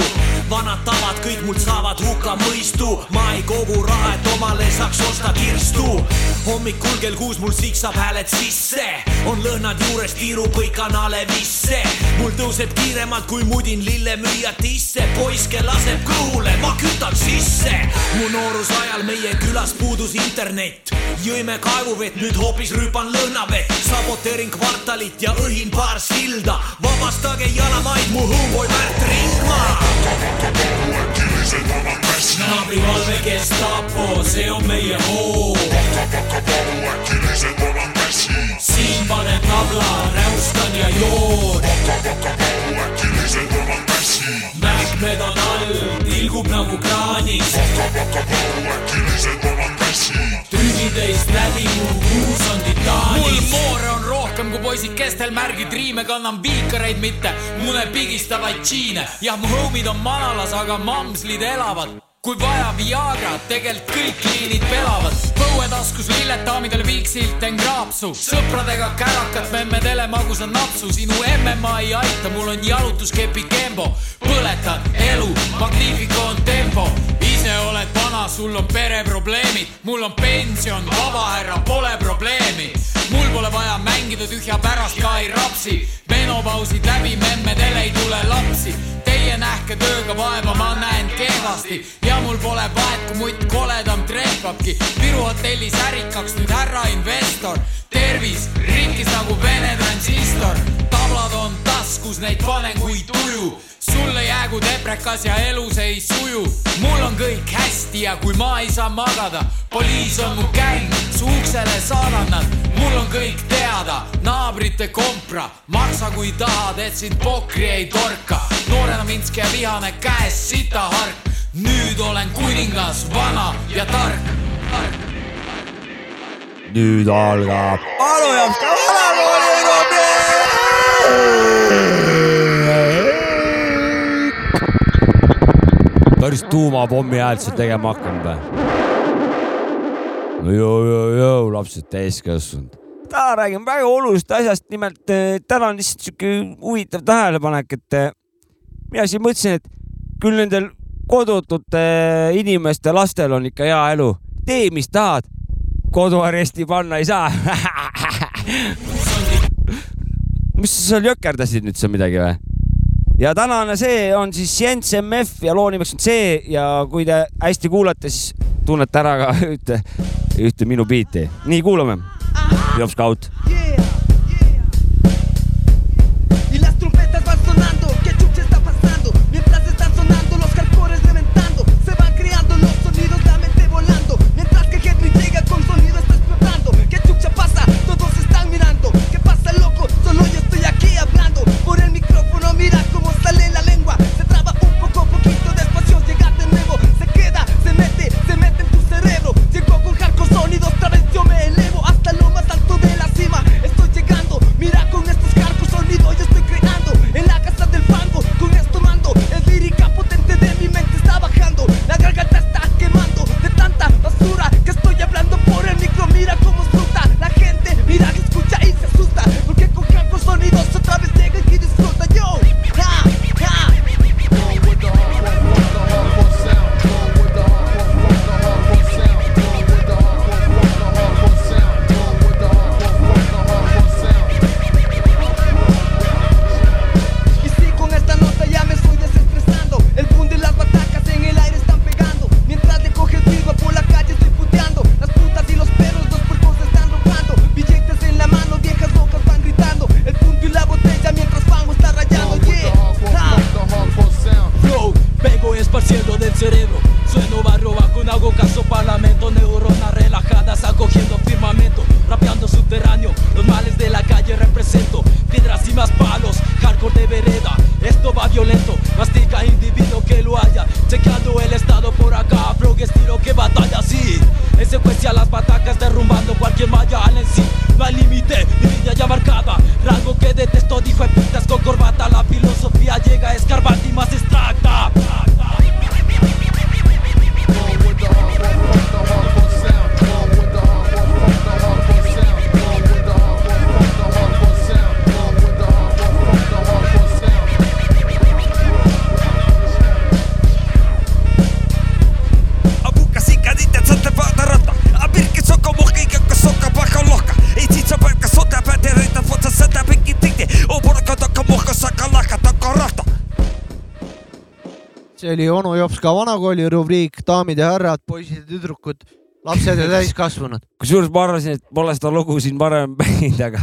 vanad tavad kõik mult saavad hukka mõistu , ma ei kogu raha , et omale saaks osta kirstu . hommikul kell kuus mul siksab hääled sisse , on lõhnad juures , tiirub kõik kanale visse . mul tõuseb kiiremalt , kui mudin lillemüüja tisse , poiss , kes laseb kõhule , ma kütan sisse . mu noorusajal meie külas puudus internet , jõime kaevuvett , nüüd hoopis rüüpan lõhnavett , saboteerin kvartalit ja õhin paar silda , vabastage jalamaid , mu homeboy Märt Ringmaa naabrivalve Gestapo , see on meie hoov . siin paneb tabla , räuskan ja joon . mähkmed on all , tilgub nagu kraanis . tüvi teist läbi , mu kuus on titaanis . mul moore on rohkem kui poisikestel märgid , riime kannan viikareid , mitte mune pigistavaid džiine . jah , mu homid on manalas , aga mamslid elavad kui vaja Viagra , tegelikult kõik liinid pelavad . põuetaskus lilled , daamidel viiksilt teen kraapsu , sõpradega kärakad , memmedele magusa napsu , sinu emmema ei aita , mul on jalutuskepi kembo , põletan elu , Magnifico on tempo , ise oled vana , sul on pereprobleemid , mul on pension , vabahärra , pole probleemi . mul pole vaja mängida tühja pärast ka ei rapsi , menopausid läbi , memmedele ei tule lapsi . Teie nähke tööga vaeva , ma näen kehvasti ja mul pole vahet , kui mutt koledam trehvabki . Viru hotellis ärikaks nüüd härra investor , tervis rikkis nagu Vene transistor , tablad on taskus , neid panen kui tuju sulle jäägu teprekas ja elus ei suju , mul on kõik hästi ja kui ma ei saa magada , poliis on mu gäng , su uksele saadan nad , mul on kõik teada , naabrite kompra , maksa kui tahad , et sind pokri ei torka , noorena Minsk ja vihane käes sitahark , nüüd olen kuningas , vana ja tark , tark . nüüd algab . alujaoks . päris tuumapommi häält sa tegema hakkanud või ? no jõu , jõu , jõu , lapsed täiskasvanud . täna räägime väga olulisest asjast , nimelt eh, täna on lihtsalt sihuke huvitav tähelepanek , et eh, mina siin mõtlesin , et küll nendel kodutute inimeste lastel on ikka hea elu , tee mis tahad , koduaresti panna ei saa . mis sa seal jõkerdasid nüüd seal midagi või ? ja tänane see on siis Jens MF ja loo nimeks on see ja kui te hästi kuulate , siis tunnete ära ka ühte , ühte minu biiti . nii , kuulame . Jops Kaut . Y las trompetas van sonando, ¿qué chucha está pasando? Mientras están sonando los hardcores reventando, se van creando los sonidos, la mente volando. Mientras que Henry llega con sonido está explotando, ¿qué chucha pasa? Todos están mirando, ¿qué pasa loco? Solo yo estoy aquí hablando, por el micrófono mira cómo sale la lengua, se traba un poco, poquito despacio, llega de nuevo, se queda, se mete, se mete en tu cerebro. Llegó con hardcore sonidos, otra vez yo me elevo hasta lo más alto de la cima. see oli onu Jopska vanakooli rubriik Daamid ja härrad , poisid ja tüdrukud , lapsed ja täiskasvanud . kusjuures ma arvasin , et pole seda lugu siin varem mängid , aga ,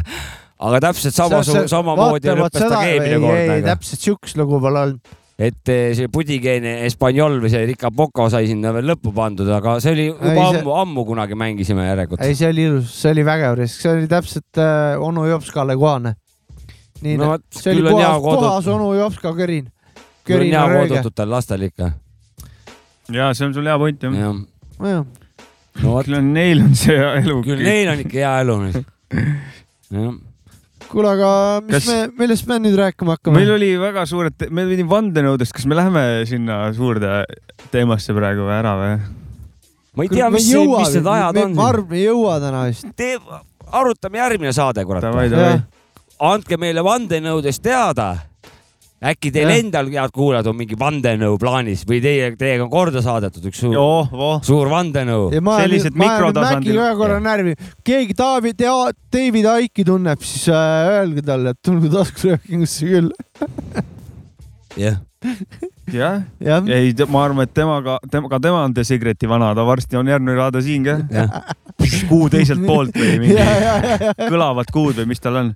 aga täpselt sama , samamoodi lõppes ta eelmine ei , kord . täpselt siukest lugu pole olnud . et eh, see pudigeene Hispaaniol või see Rica Poco sai sinna veel lõppu pandud , aga see oli juba Ei, see- ammu , ammu kunagi mängisime järjekord . ei , see oli ilus , see oli vägev risk , see oli täpselt äh, onu Jopskale kohane . nii No no, , vot, see oli küll on hea puhas , kodutu- puhas onu Jopska körin . küll on hea körin rööge . koodutud tal lastel ikka . ja see on sul hea point jah . jah , nojah , no vot , küll on , neil on see elu . küll neil on ikka hea elu nüüd . jah , kuule , aga mis Kas- Kas... me , millest me nüüd rääkima hakkame ? meil oli väga suured , me pidime vandenõudest , kas me läheme sinna suurde teemasse praegu või ära või ? ma ei tea , mis , mis need ajad on ma . arvan , me ei jõua täna vist . tee , arutame järgmine saade , Davai , kurat . davai . andke meile vandenõudest teada . äkki teil Jah. endal , head kuulajad , on mingi vandenõu plaanis või teie , teiega on korda saadetud üks suur , oh , oh . suur vandenõu . ja ma Sellised olen , ma olen mikrotasandil. Maciga ühe korra närvi . keegi Taavi , David Aiki tunneb , siis äh, öelge talle , et tulgu taskuröökingusse küll . jah , jah , jah , ei , ma arvan , et temaga , tema , ka tema on The Secreti vana , ta varsti on järgmine raada siin ka . jah , kuu teiselt poolt või mingi ja , ja , ja , ja . kõlavad kuud või mis tal on .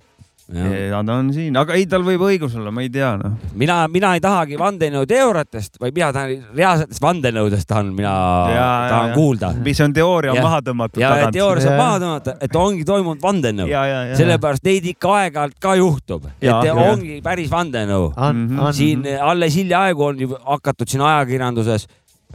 jah . ta on siin , aga ei , tal võib õigus olla , ma ei tea noh . mina , mina ei tahagi vandenõuteooriatest , vaid mina tahan reaalsetest vandenõudest tahan mina , tahan ja. kuulda . mis on teooria Jah. maha tõmmatud ja tagant . teooria saab Jaa. maha tõmmata , et ongi toimunud vandenõu . ja , ja , ja . sellepärast neid ikka aeg-ajalt ka juhtub , et Jaa, ja, jaa. ongi päris vandenõu . on , Mhm. on . siin alles hiljaaegu on juba hakatud siin ajakirjanduses ,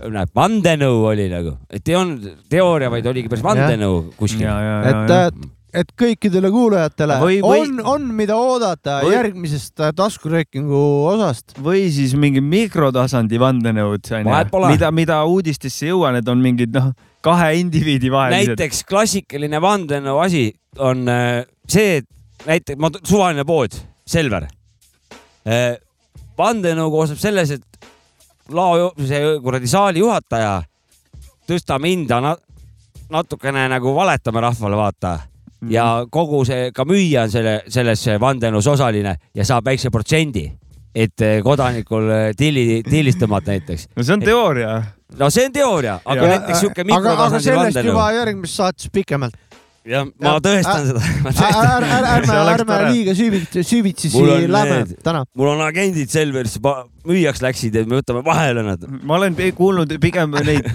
näeb , vandenõu oli nagu , et ei olnud teooria , vaid oligi päris vandenõu kuskil ja , ja , et äh, ja ,, et kõikidele kuulajatele Või- või- on , on , mida oodata Või- või... järgmisest äh, taskuröökingu osast . või siis mingi mikrotasandi vandenõud , Vahet pole. mida , mida uudistesse ei jõua , need on mingid noh , kahe indiviidi vahelised . näiteks klassikaline vandenõu asi on äh, see , et näiteks ma , suvaline pood , Selver . vandenõu koosneb selles , et lao , see kuradi saali juhataja , tõstame hinda na, , natukene nagu valetame rahvale , vaata . Mhm. ja kogu see , ka müüja on selle , selles vandenõus osaline ja saab väikse protsendi , et äh, kodanikul äh, tilli , tillist tõmmata näiteks . no see on teooria . no see on teooria , aga Ja- ja, näiteks aga , sihuke aga mikrotasandi sellest vandenõu juba järgmises saates pikemalt . jah , ma Ja- tõestan seda , ma tõestan . ärme , ärme See , oleks ärme tore. liiga süvitsi , süvitsi Mul on lähme need- täna . mul on agendid Selverisse , müüjaks läksid ja me võtame vahele nad . ma olen pe- kuulnud pigem neid ,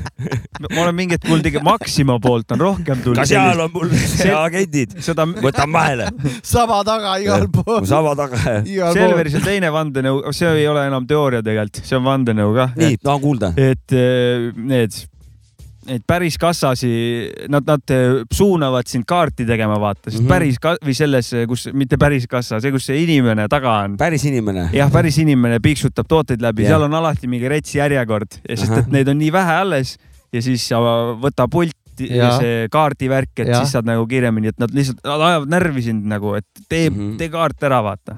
ma olen mingi hetk kuulnud ikka Maxima poolt on rohkem ka tulnud seal sellist , on mul agendid , seda võtame vahele . saba taga igal pool . sama taga . igal pool . Selveris on teine vandenõu , see ei ole enam teooria tegelikult , see on vandenõu kah . nii , tahan kuulda . et eh, need , need päris kassasi , nad , nad eh, suunavad sind kaarti tegema , vaata , sest mm Mhm. -hmm. päris ka- või selles , kus mitte päris kassa , see , kus see inimene taga on . päris inimene . jah , päris inimene piiksutab tooteid läbi , Jah. seal on alati mingi rets järjekord , sest Ahah. et neid on nii vähe alles ja siis sa võta pult ja Jah. see kaardivärk , et Jah. ja. siis saad nagu kiiremini , et nad lihtsalt nad ajavad närvi sind nagu , et tee mm , Mhm. -hmm. tee kaart ära , vaata .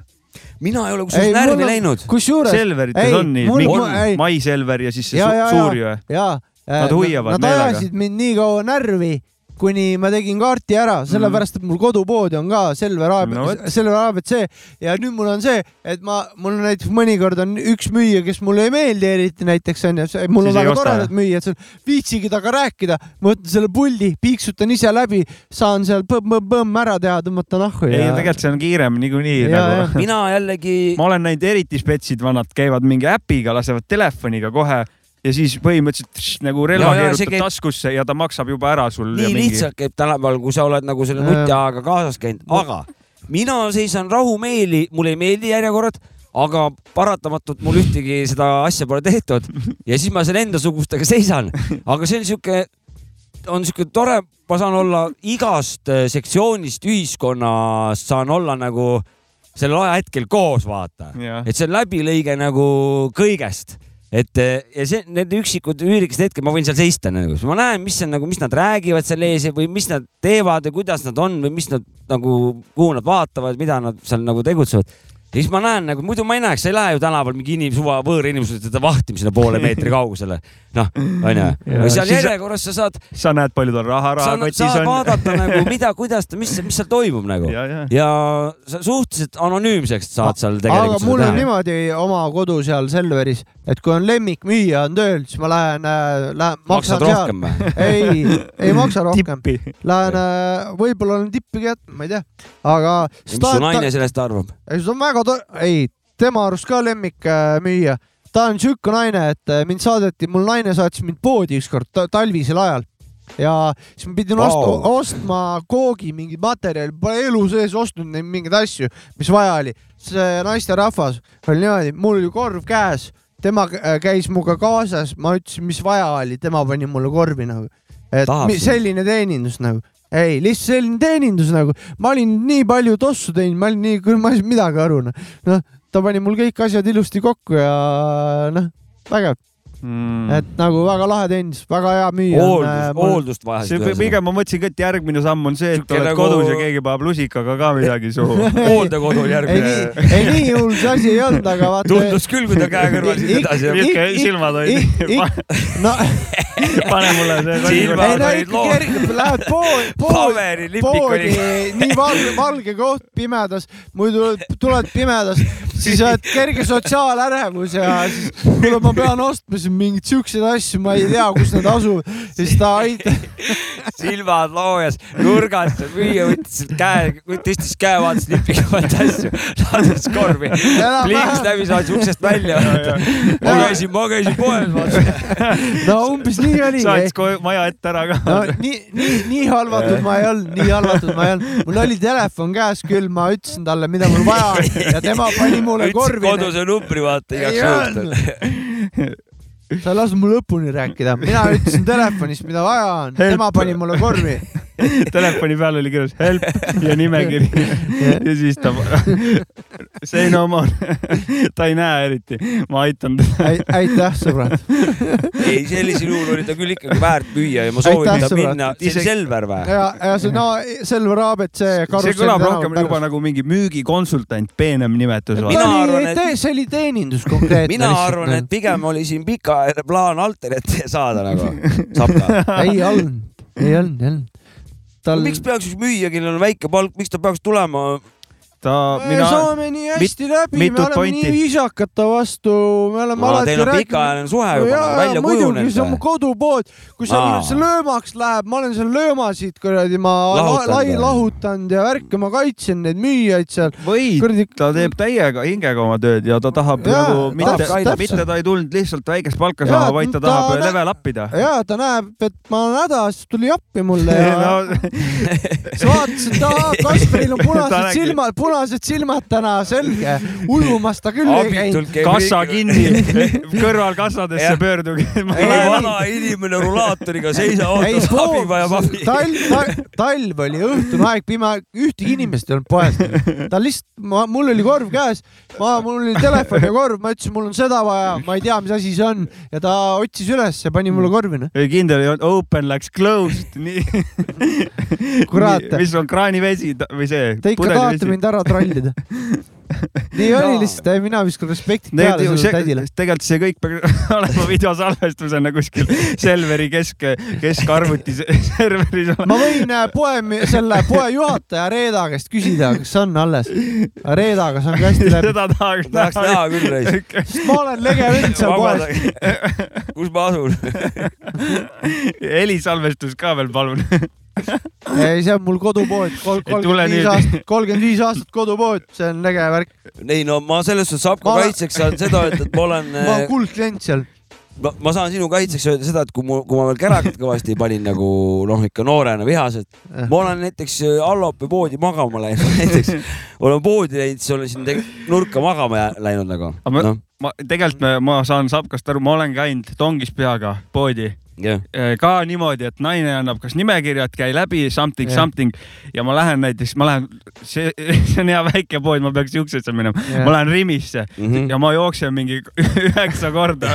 mina ei ole kusjuures närvi läinud . kusjuures . Selverites ei, on nii mul- , mul- mingi ei. Mai Selver ja siis see Ja, ja, ja, ja. ja, suur ju . jaa . Nad hoiavad Nad meelega. ajasid mind nii kaua närvi , kuni ma tegin kaarti ära , sellepärast et mul kodupood on ka Selver AB No no, vot. , Selver ABC ja nüüd mul on see , et ma , mul on näiteks mõnikord on üks müüja , kes mulle ei meeldi eriti näiteks onju , mul Siis on ei väga osta, toredad müüjad seal , viitsigi temaga rääkida , ma võtan selle puldi , piiksutan ise läbi , saan seal põmm-põmm-põmm ära teha , tõmmata nahku ei , ja . tegelikult see on kiirem niikuinii Ja, nagu . mina jällegi , ma olen näinud eriti spetsid vanad käivad mingi äpiga , lasevad telefoniga kohe ja siis põhimõtteliselt tš, nagu relva Ja, ja, see keerutad käib- taskusse ja ta maksab juba ära sul . nii lihtsalt käib tänapäeval , kui sa oled nagu selle Jah. nutiajaga kaasas käinud , aga mina seisan rahumeeli , mulle ei meeldi järjekorrad , aga paratamatult mul ühtegi seda asja pole tehtud ja siis ma seal endasugustega seisan , aga see on sihuke , on sihuke tore , ma saan olla igast eh, sektsioonist ühiskonnast saan olla nagu sellel ajahetkel koos , vaata Jah. et see on läbilõige nagu kõigest , et eh, ja see , need üksikud üürikesed hetked , ma võin seal seista nagu , siis ma näen , mis on nagu , mis nad räägivad seal ees ja- või mis nad teevad ja kuidas nad on või mis nad nagu , kuhu nad vaatavad , mida nad seal nagu tegutsevad . ja siis ma näen nagu , muidu ma ei näeks , sa ei lähe ju tänaval mingi inim- , suva võõrinimese teda vahtima sinna poole meetri kaugusele . noh , onju . Ja seal siis- järjekorras sa saad , sa näed , palju tal raha sa rahakotis on . saad vaadata nagu mida , kuidas ta , mis , mis seal toimub nagu . ja , ja . ja sa suhteliselt anonüümseks saad seal aga tegelikult mul seda on teha . niimoodi oma kodu seal Selveris , et kui on lemmikmüüja on tööl , siis ma lähen , lähen , maksan maksad seal . rohkem või ? ei , ei maksa rohkem . tippi . Lähen , võib-olla olen tippi kätte , ma ei tea , aga . mis su naine sellest arvab ? ei , see on väga tore , ei , tema arust ka lemmikmüüja . ta on sihuke naine , et äh, mind saadeti , mul naine saatis mind poodi ükskord ta- talvisel ajal ja siis ma pidin Vau. ost- , ostma koogi mingit materjali , pole elu sees ostnud neid mingeid asju , mis vaja oli . see naisterahvas oli niimoodi , mul oli korv käes , tema kä- käis minuga kaasas , ma ütlesin , mis vaja oli , tema pani mulle korvi nagu . et Tahab mi- sind. selline teenindus nagu ei , lihtsalt selline teenindus nagu , ma olin nii palju tossu teinud , ma olin nii , ma ei saanud midagi aru , noh , ta pani mul kõik asjad ilusti kokku ja noh , vägev , et nagu väga lahe teenindus , väga hea müüja . Mm. hooldust , hooldust see vajasid pi- . pigem ma mõtlesin ka , et järgmine samm on see , et Sihuke oled nagu- kodus ja keegi paneb lusikaga ka midagi suhu . hooldekodul ei järgmine . nii , ei nii hull see asi ei olnud , aga vaata . tundus küll , kui ta käe kõrval siin edasi Ik- niisugune ik- silmad olid . no , pane mulle Silmad- see . ei no olid ikka loo- kergib , lähed poodi , poodi , paberilipik poodi oli . nii valge , valge koht pimedas , muidu tuled pimedas , siis oled kerge sotsiaalärevus ja siis kuule , ma pean ostma siin mingeid siukseid asju , ma ei tea , kus need asuvad . siis ta aitab , silmad loojas , nurgad , müüja võttis sealt käe , tõstis käe , vaatas lipiga , vaatas asju , laadis korvi , pliiks läbi , saatis uksest välja . ma käisin , ma käisin poes , vaatasin . no umbes nii oli saatis . kohe maja ette ära ka . no nii , nii , nii halvatud ma ei olnud , nii halvatud ma ei olnud . mul oli telefon käes küll , ma ütlesin talle , mida mul vaja on ja tema pani mulle ütlesin korvi . koduse numbri , vaata Ei igaks öelnud. juhuks . sa ei lasknud mul lõpuni rääkida , mina ütlesin telefonist , mida vaja on , Help. tema pani mulle korvi . telefoni peal oli kirjas help ja nimekiri . ja siis ta , say no more . ta ei näe eriti , ma aitan teda . aitäh , sõbrad . ei , sellisel juhul oli ta küll ikkagi väärt müüa ja ma Aitäh, soovitan tal sõbrad. minna , see oli Selver või ? ja , ja see , no Selver Aabet , see see karussell kõlab rohkem juba . nagu mingi müügikonsultant , peenem nimetus . Mina ta arvan, oli et- , see oli teenindus nagu- konkreetne . mina arvan , et . pigem oli siin pikaajaline plaan alternat saada nagu , sapka . ei olnud , ei olnud , ei olnud . tal . miks peaks üks müüja , kellel on väike palk , miks ta peaks tulema ta , me mina , saame nii hästi läbi , mitut me oleme pointi? nii viisakad ta vastu , me oleme Aa, alati teil on pikaajaline suhe juba nagu välja muidugi , see on mu kujunenud . kodupood , kui seal Aa. see löömaks läheb , ma olen seal löömasid kuradi , ma Lahutanud lai või? lahutanud ja värki , ma kaitsen neid müüjaid seal . võid kuradi , ta teeb täiega hingega oma tööd ja ta tahab Jaa, nagu mitte tahab kaitsta. , mitte ta ei tulnud lihtsalt väikest palka Jaa, saama , vaid ta ta tahab nä- level up ida . ja ta näeb , et ma olen hädas , tuli appi mulle ja No, siis vaatasin , et aa , Kasparil on Ta punased nägi. silmad , punased silmad täna , selge . ujumas ta küll ei käinud . abitult käib kassa ringi- kinni , kõrval kassadesse Jah. pöörduge . ei , Ei, vana inimene rolaatoriga seisab , ei , ootab abi , vajab abi . talv , talv oli , õhtune aeg , pime , ühtegi inimest ei olnud poes . ta lihtsalt , ma , mul oli korv käes , ma , mul oli telefon ja korv , ma ütlesin , mul on seda vaja , ma ei tea , mis asi see on ja ta otsis üles ja pani mulle korvi , noh . ei kindel ei olnud , open läks closed , nii . Kurat. mis on kraanivesi ta- või see ? Te ikka tahate mind ära trollida . nii oli lihtsalt , mina viskan respekti peale sellele tädile . tegelikult see kõik peaks olema videosalvestusena kuskil Selveri kesk , keskarvuti se- serveris ma olema . võin äh, poe , selle poe juhataja Reeda käest küsida , kas on alles . Reedaga saan ka hästi läbi . seda tahaks tahaks näha näha . küll , reis . ma olen lege vend seal poes . kus ma asun ? helisalvestus ka veel , palun . ei , see on mul kodupood , tule kolmkümmend nüüd. viis aastat , kolmkümmend viis aastat kodupood , see on äge värk . ei no ma selles suhtes Sapko Ma- kaitseks saan seda öelda , et ma olen , ma olen kuldklient seal . Äh, ma saan sinu kaitseks öelda seda , et kui mu , kui ma veel kärakat kõvasti panin nagu noh , ikka noorena vihaselt , ma olen näiteks äh, Allope poodi magama läinud , näiteks olen poodi läinud , siis olen siin teg- nurka magama jää- läinud nagu . Aga ma- noh , ma tegelikult , ma saan Sapkast aru , ma olen käinud tongis peaga poodi jah , Äh, ka niimoodi , et naine annab kas nimekirjad , käi läbi something , Jah. something ja ma lähen näiteks , ma lähen , see , see on hea väike pood , ma peaks siuksesse minema , Jah. ma lähen Rimisse mm Mhm. -hmm. ja ma jooksen mingi üheksa korda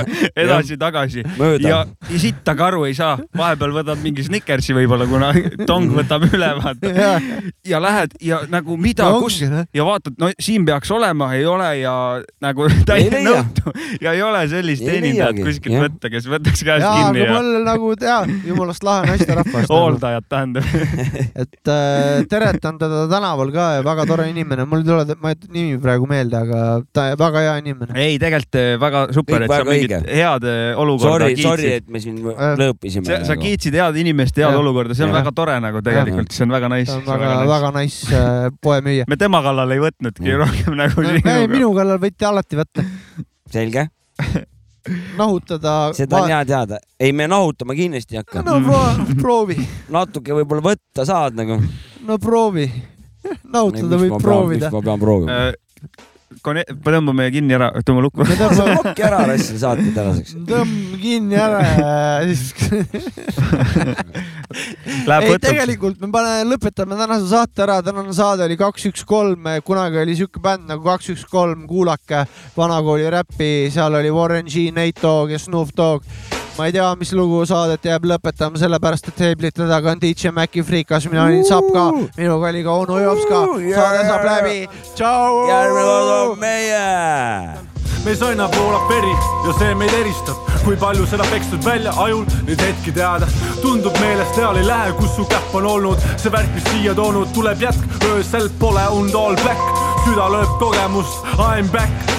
edasi-tagasi Mööda. ja sitta karu ei saa , vahepeal võtad mingi Snickersi võib-olla , kuna tong võtab üle , vaata . jah , ja lähed ja nagu mida No , kus ongi, noh. ja vaatad , no siin peaks olema , ei ole ja nagu Ei täiesti leia. nõutu ja ei ole sellist Ei teenindajat leiagi, kuskilt jah. võtta , kes võtaks käest jaa , kinni aga ja mul nagu jaa , jumalast lahe nagu- naisterahvas . hooldajat tähendab . et äh, teretan teda tänaval ka ja väga tore inimene , mul ei tule ma ei- nimi praegu meelde , aga ta väga hea inimene . ei , tegelikult eh, väga super , Kõik et sa väga mingit õige. head eh, olukorda sorry , sorry , kiitsid . et me siin Äh, lõõpisime . nagu. sa , sa kiitsid head inimest , head Jah. olukorda , see on Jah. väga tore nagu tegelikult , see on väga ta nice on . väga , väga nice äh, poemüüja . me tema kallal ei võtnudki Jah. rohkem nagu sinuga . minu kallal võite alati võtta , selge , nahutada . seda on hea teada . ei , me nahutama kindlasti ei hakka . no proo- proovi , natuke võib-olla võtta saad nagu . no proovi . nahutada võib proovida . ma pean proovima . Äh, Kone- , tõmbame kinni ära , tõmbame lukku . me tõmbame , kokki ära rassile saate tänaseks . tõmbame kinni ära ja siis Läheb ei , võtuks . tegelikult me pane , lõpetame tänase saate ära , tänane saade oli kaks , üks , kolm , kunagi oli siuke bänd nagu kaks , üks , kolm , kuulake vanakooli räppi , seal oli Warren G , Nate Dogg ja Snoop Dogg . ma ei tea , mis lugu saadet jääb lõpetama , sellepärast et heeblite taga on DJ Maci Freekas , mina olin Sapka , minuga oli ka onu Jopska , saade saab läbi , tšau . järgmine kord on meie meis aina voolab veri ja see meid eristab , kui palju seda pekstud välja ajul nüüd hetki teada . tundub meelest eal ei lähe , kus su käpp on olnud , see värk , mis siia toonud , tuleb jätk , öösel pole und all black , süda lööb kogemust , I m back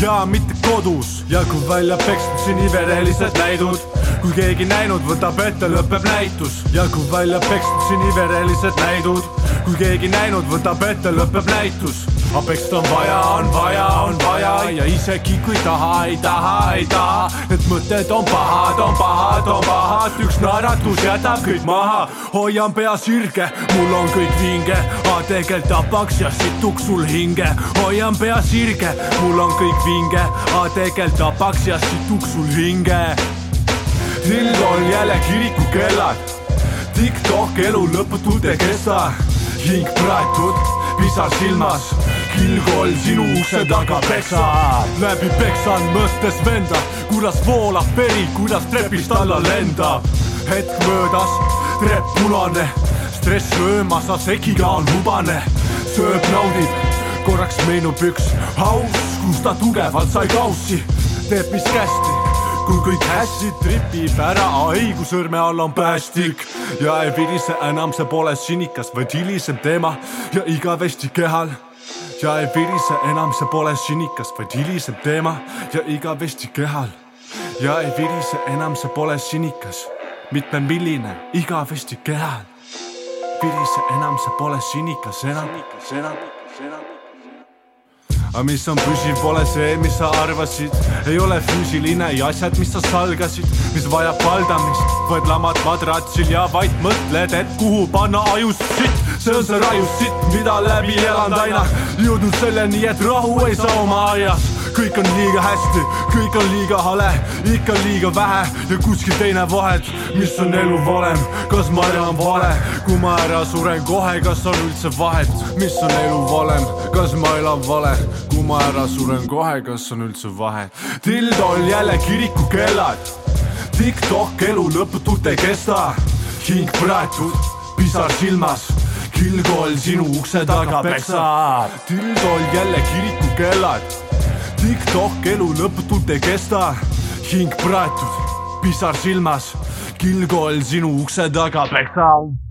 ja mitte kodus ja kui välja pekstud siniverelised näidud , kui keegi näinud , võtab ette , lõpeb näitus ja kui välja pekstud siniverelised näidud , kui keegi näinud , võtab ette , lõpeb näitus . aga peksta on vaja , on vaja , on vaja ja isegi kui taha , ei taha , ei taha , need mõtted on pahad , on pahad , on pahad , üks naeratus jätab kõik maha , hoian pea sirge , mul on kõik vinge , aga tegelikult tapaks ja situks sul hinge , hoian pea sirge , mul on kõik vinge , aga tegelikult tapaks ja situks sul hinge . lill on jälle kirikukellad , tiktok elu lõputult ei kesta , hing praetud , pisar silmas kilgol sinu ukse taga peksa , läbi peksan mõttes venda , kuidas voolab veri , kuidas trepist alla lendab . hetk möödas , trepp punane , stress löömas , aga segiga on hubane , sööb , naudib , korraks meenub üks aus , kus ta tugevalt sai kaussi , teeb mis kästi kui kõik hästi tripib ära , õigusõrme all on päästik ja ei virise enam , see pole sinikas , vaid hilisem teema ja igavesti kehal . ja ei virise enam , see pole sinikas , vaid hilisem teema ja igavesti kehal . ja ei virise enam , see pole sinikas , mitmemilline igavesti kehal . virise enam , see pole sinikas enam , enam , enam aga mis on püsiv , pole see , mis sa arvasid , ei ole füüsiline ja asjad , mis sa salgasid , mis vajab valdamist , vaid lamad madratsil ja vaid mõtled , et kuhu panna ajus sitt , see on see rajus sitt , mida läbi elanud aina , jõudnud selleni , et rahu ei saa oma aias , kõik on liiga hästi , kõik on liiga hale , ikka liiga vähe ja kuskil teine vahet , mis on elu valem , kas ma elan vale , kui ma ära suren kohe , kas on üldse vahet , mis on elu valem , kas ma elan vale , kui ma ära suren kohe , kas on üldse vahet ? tildol jälle kirikukellad , tiktok elu lõputult ei kesta , hing praetud , pisar silmas , kilgol sinu ukse taga peksa , tildol jälle kirikukellad Tiktok elu lõputult ei kesta , hing praetud , pisar silmas , kilg on sinu ukse taga , peksa .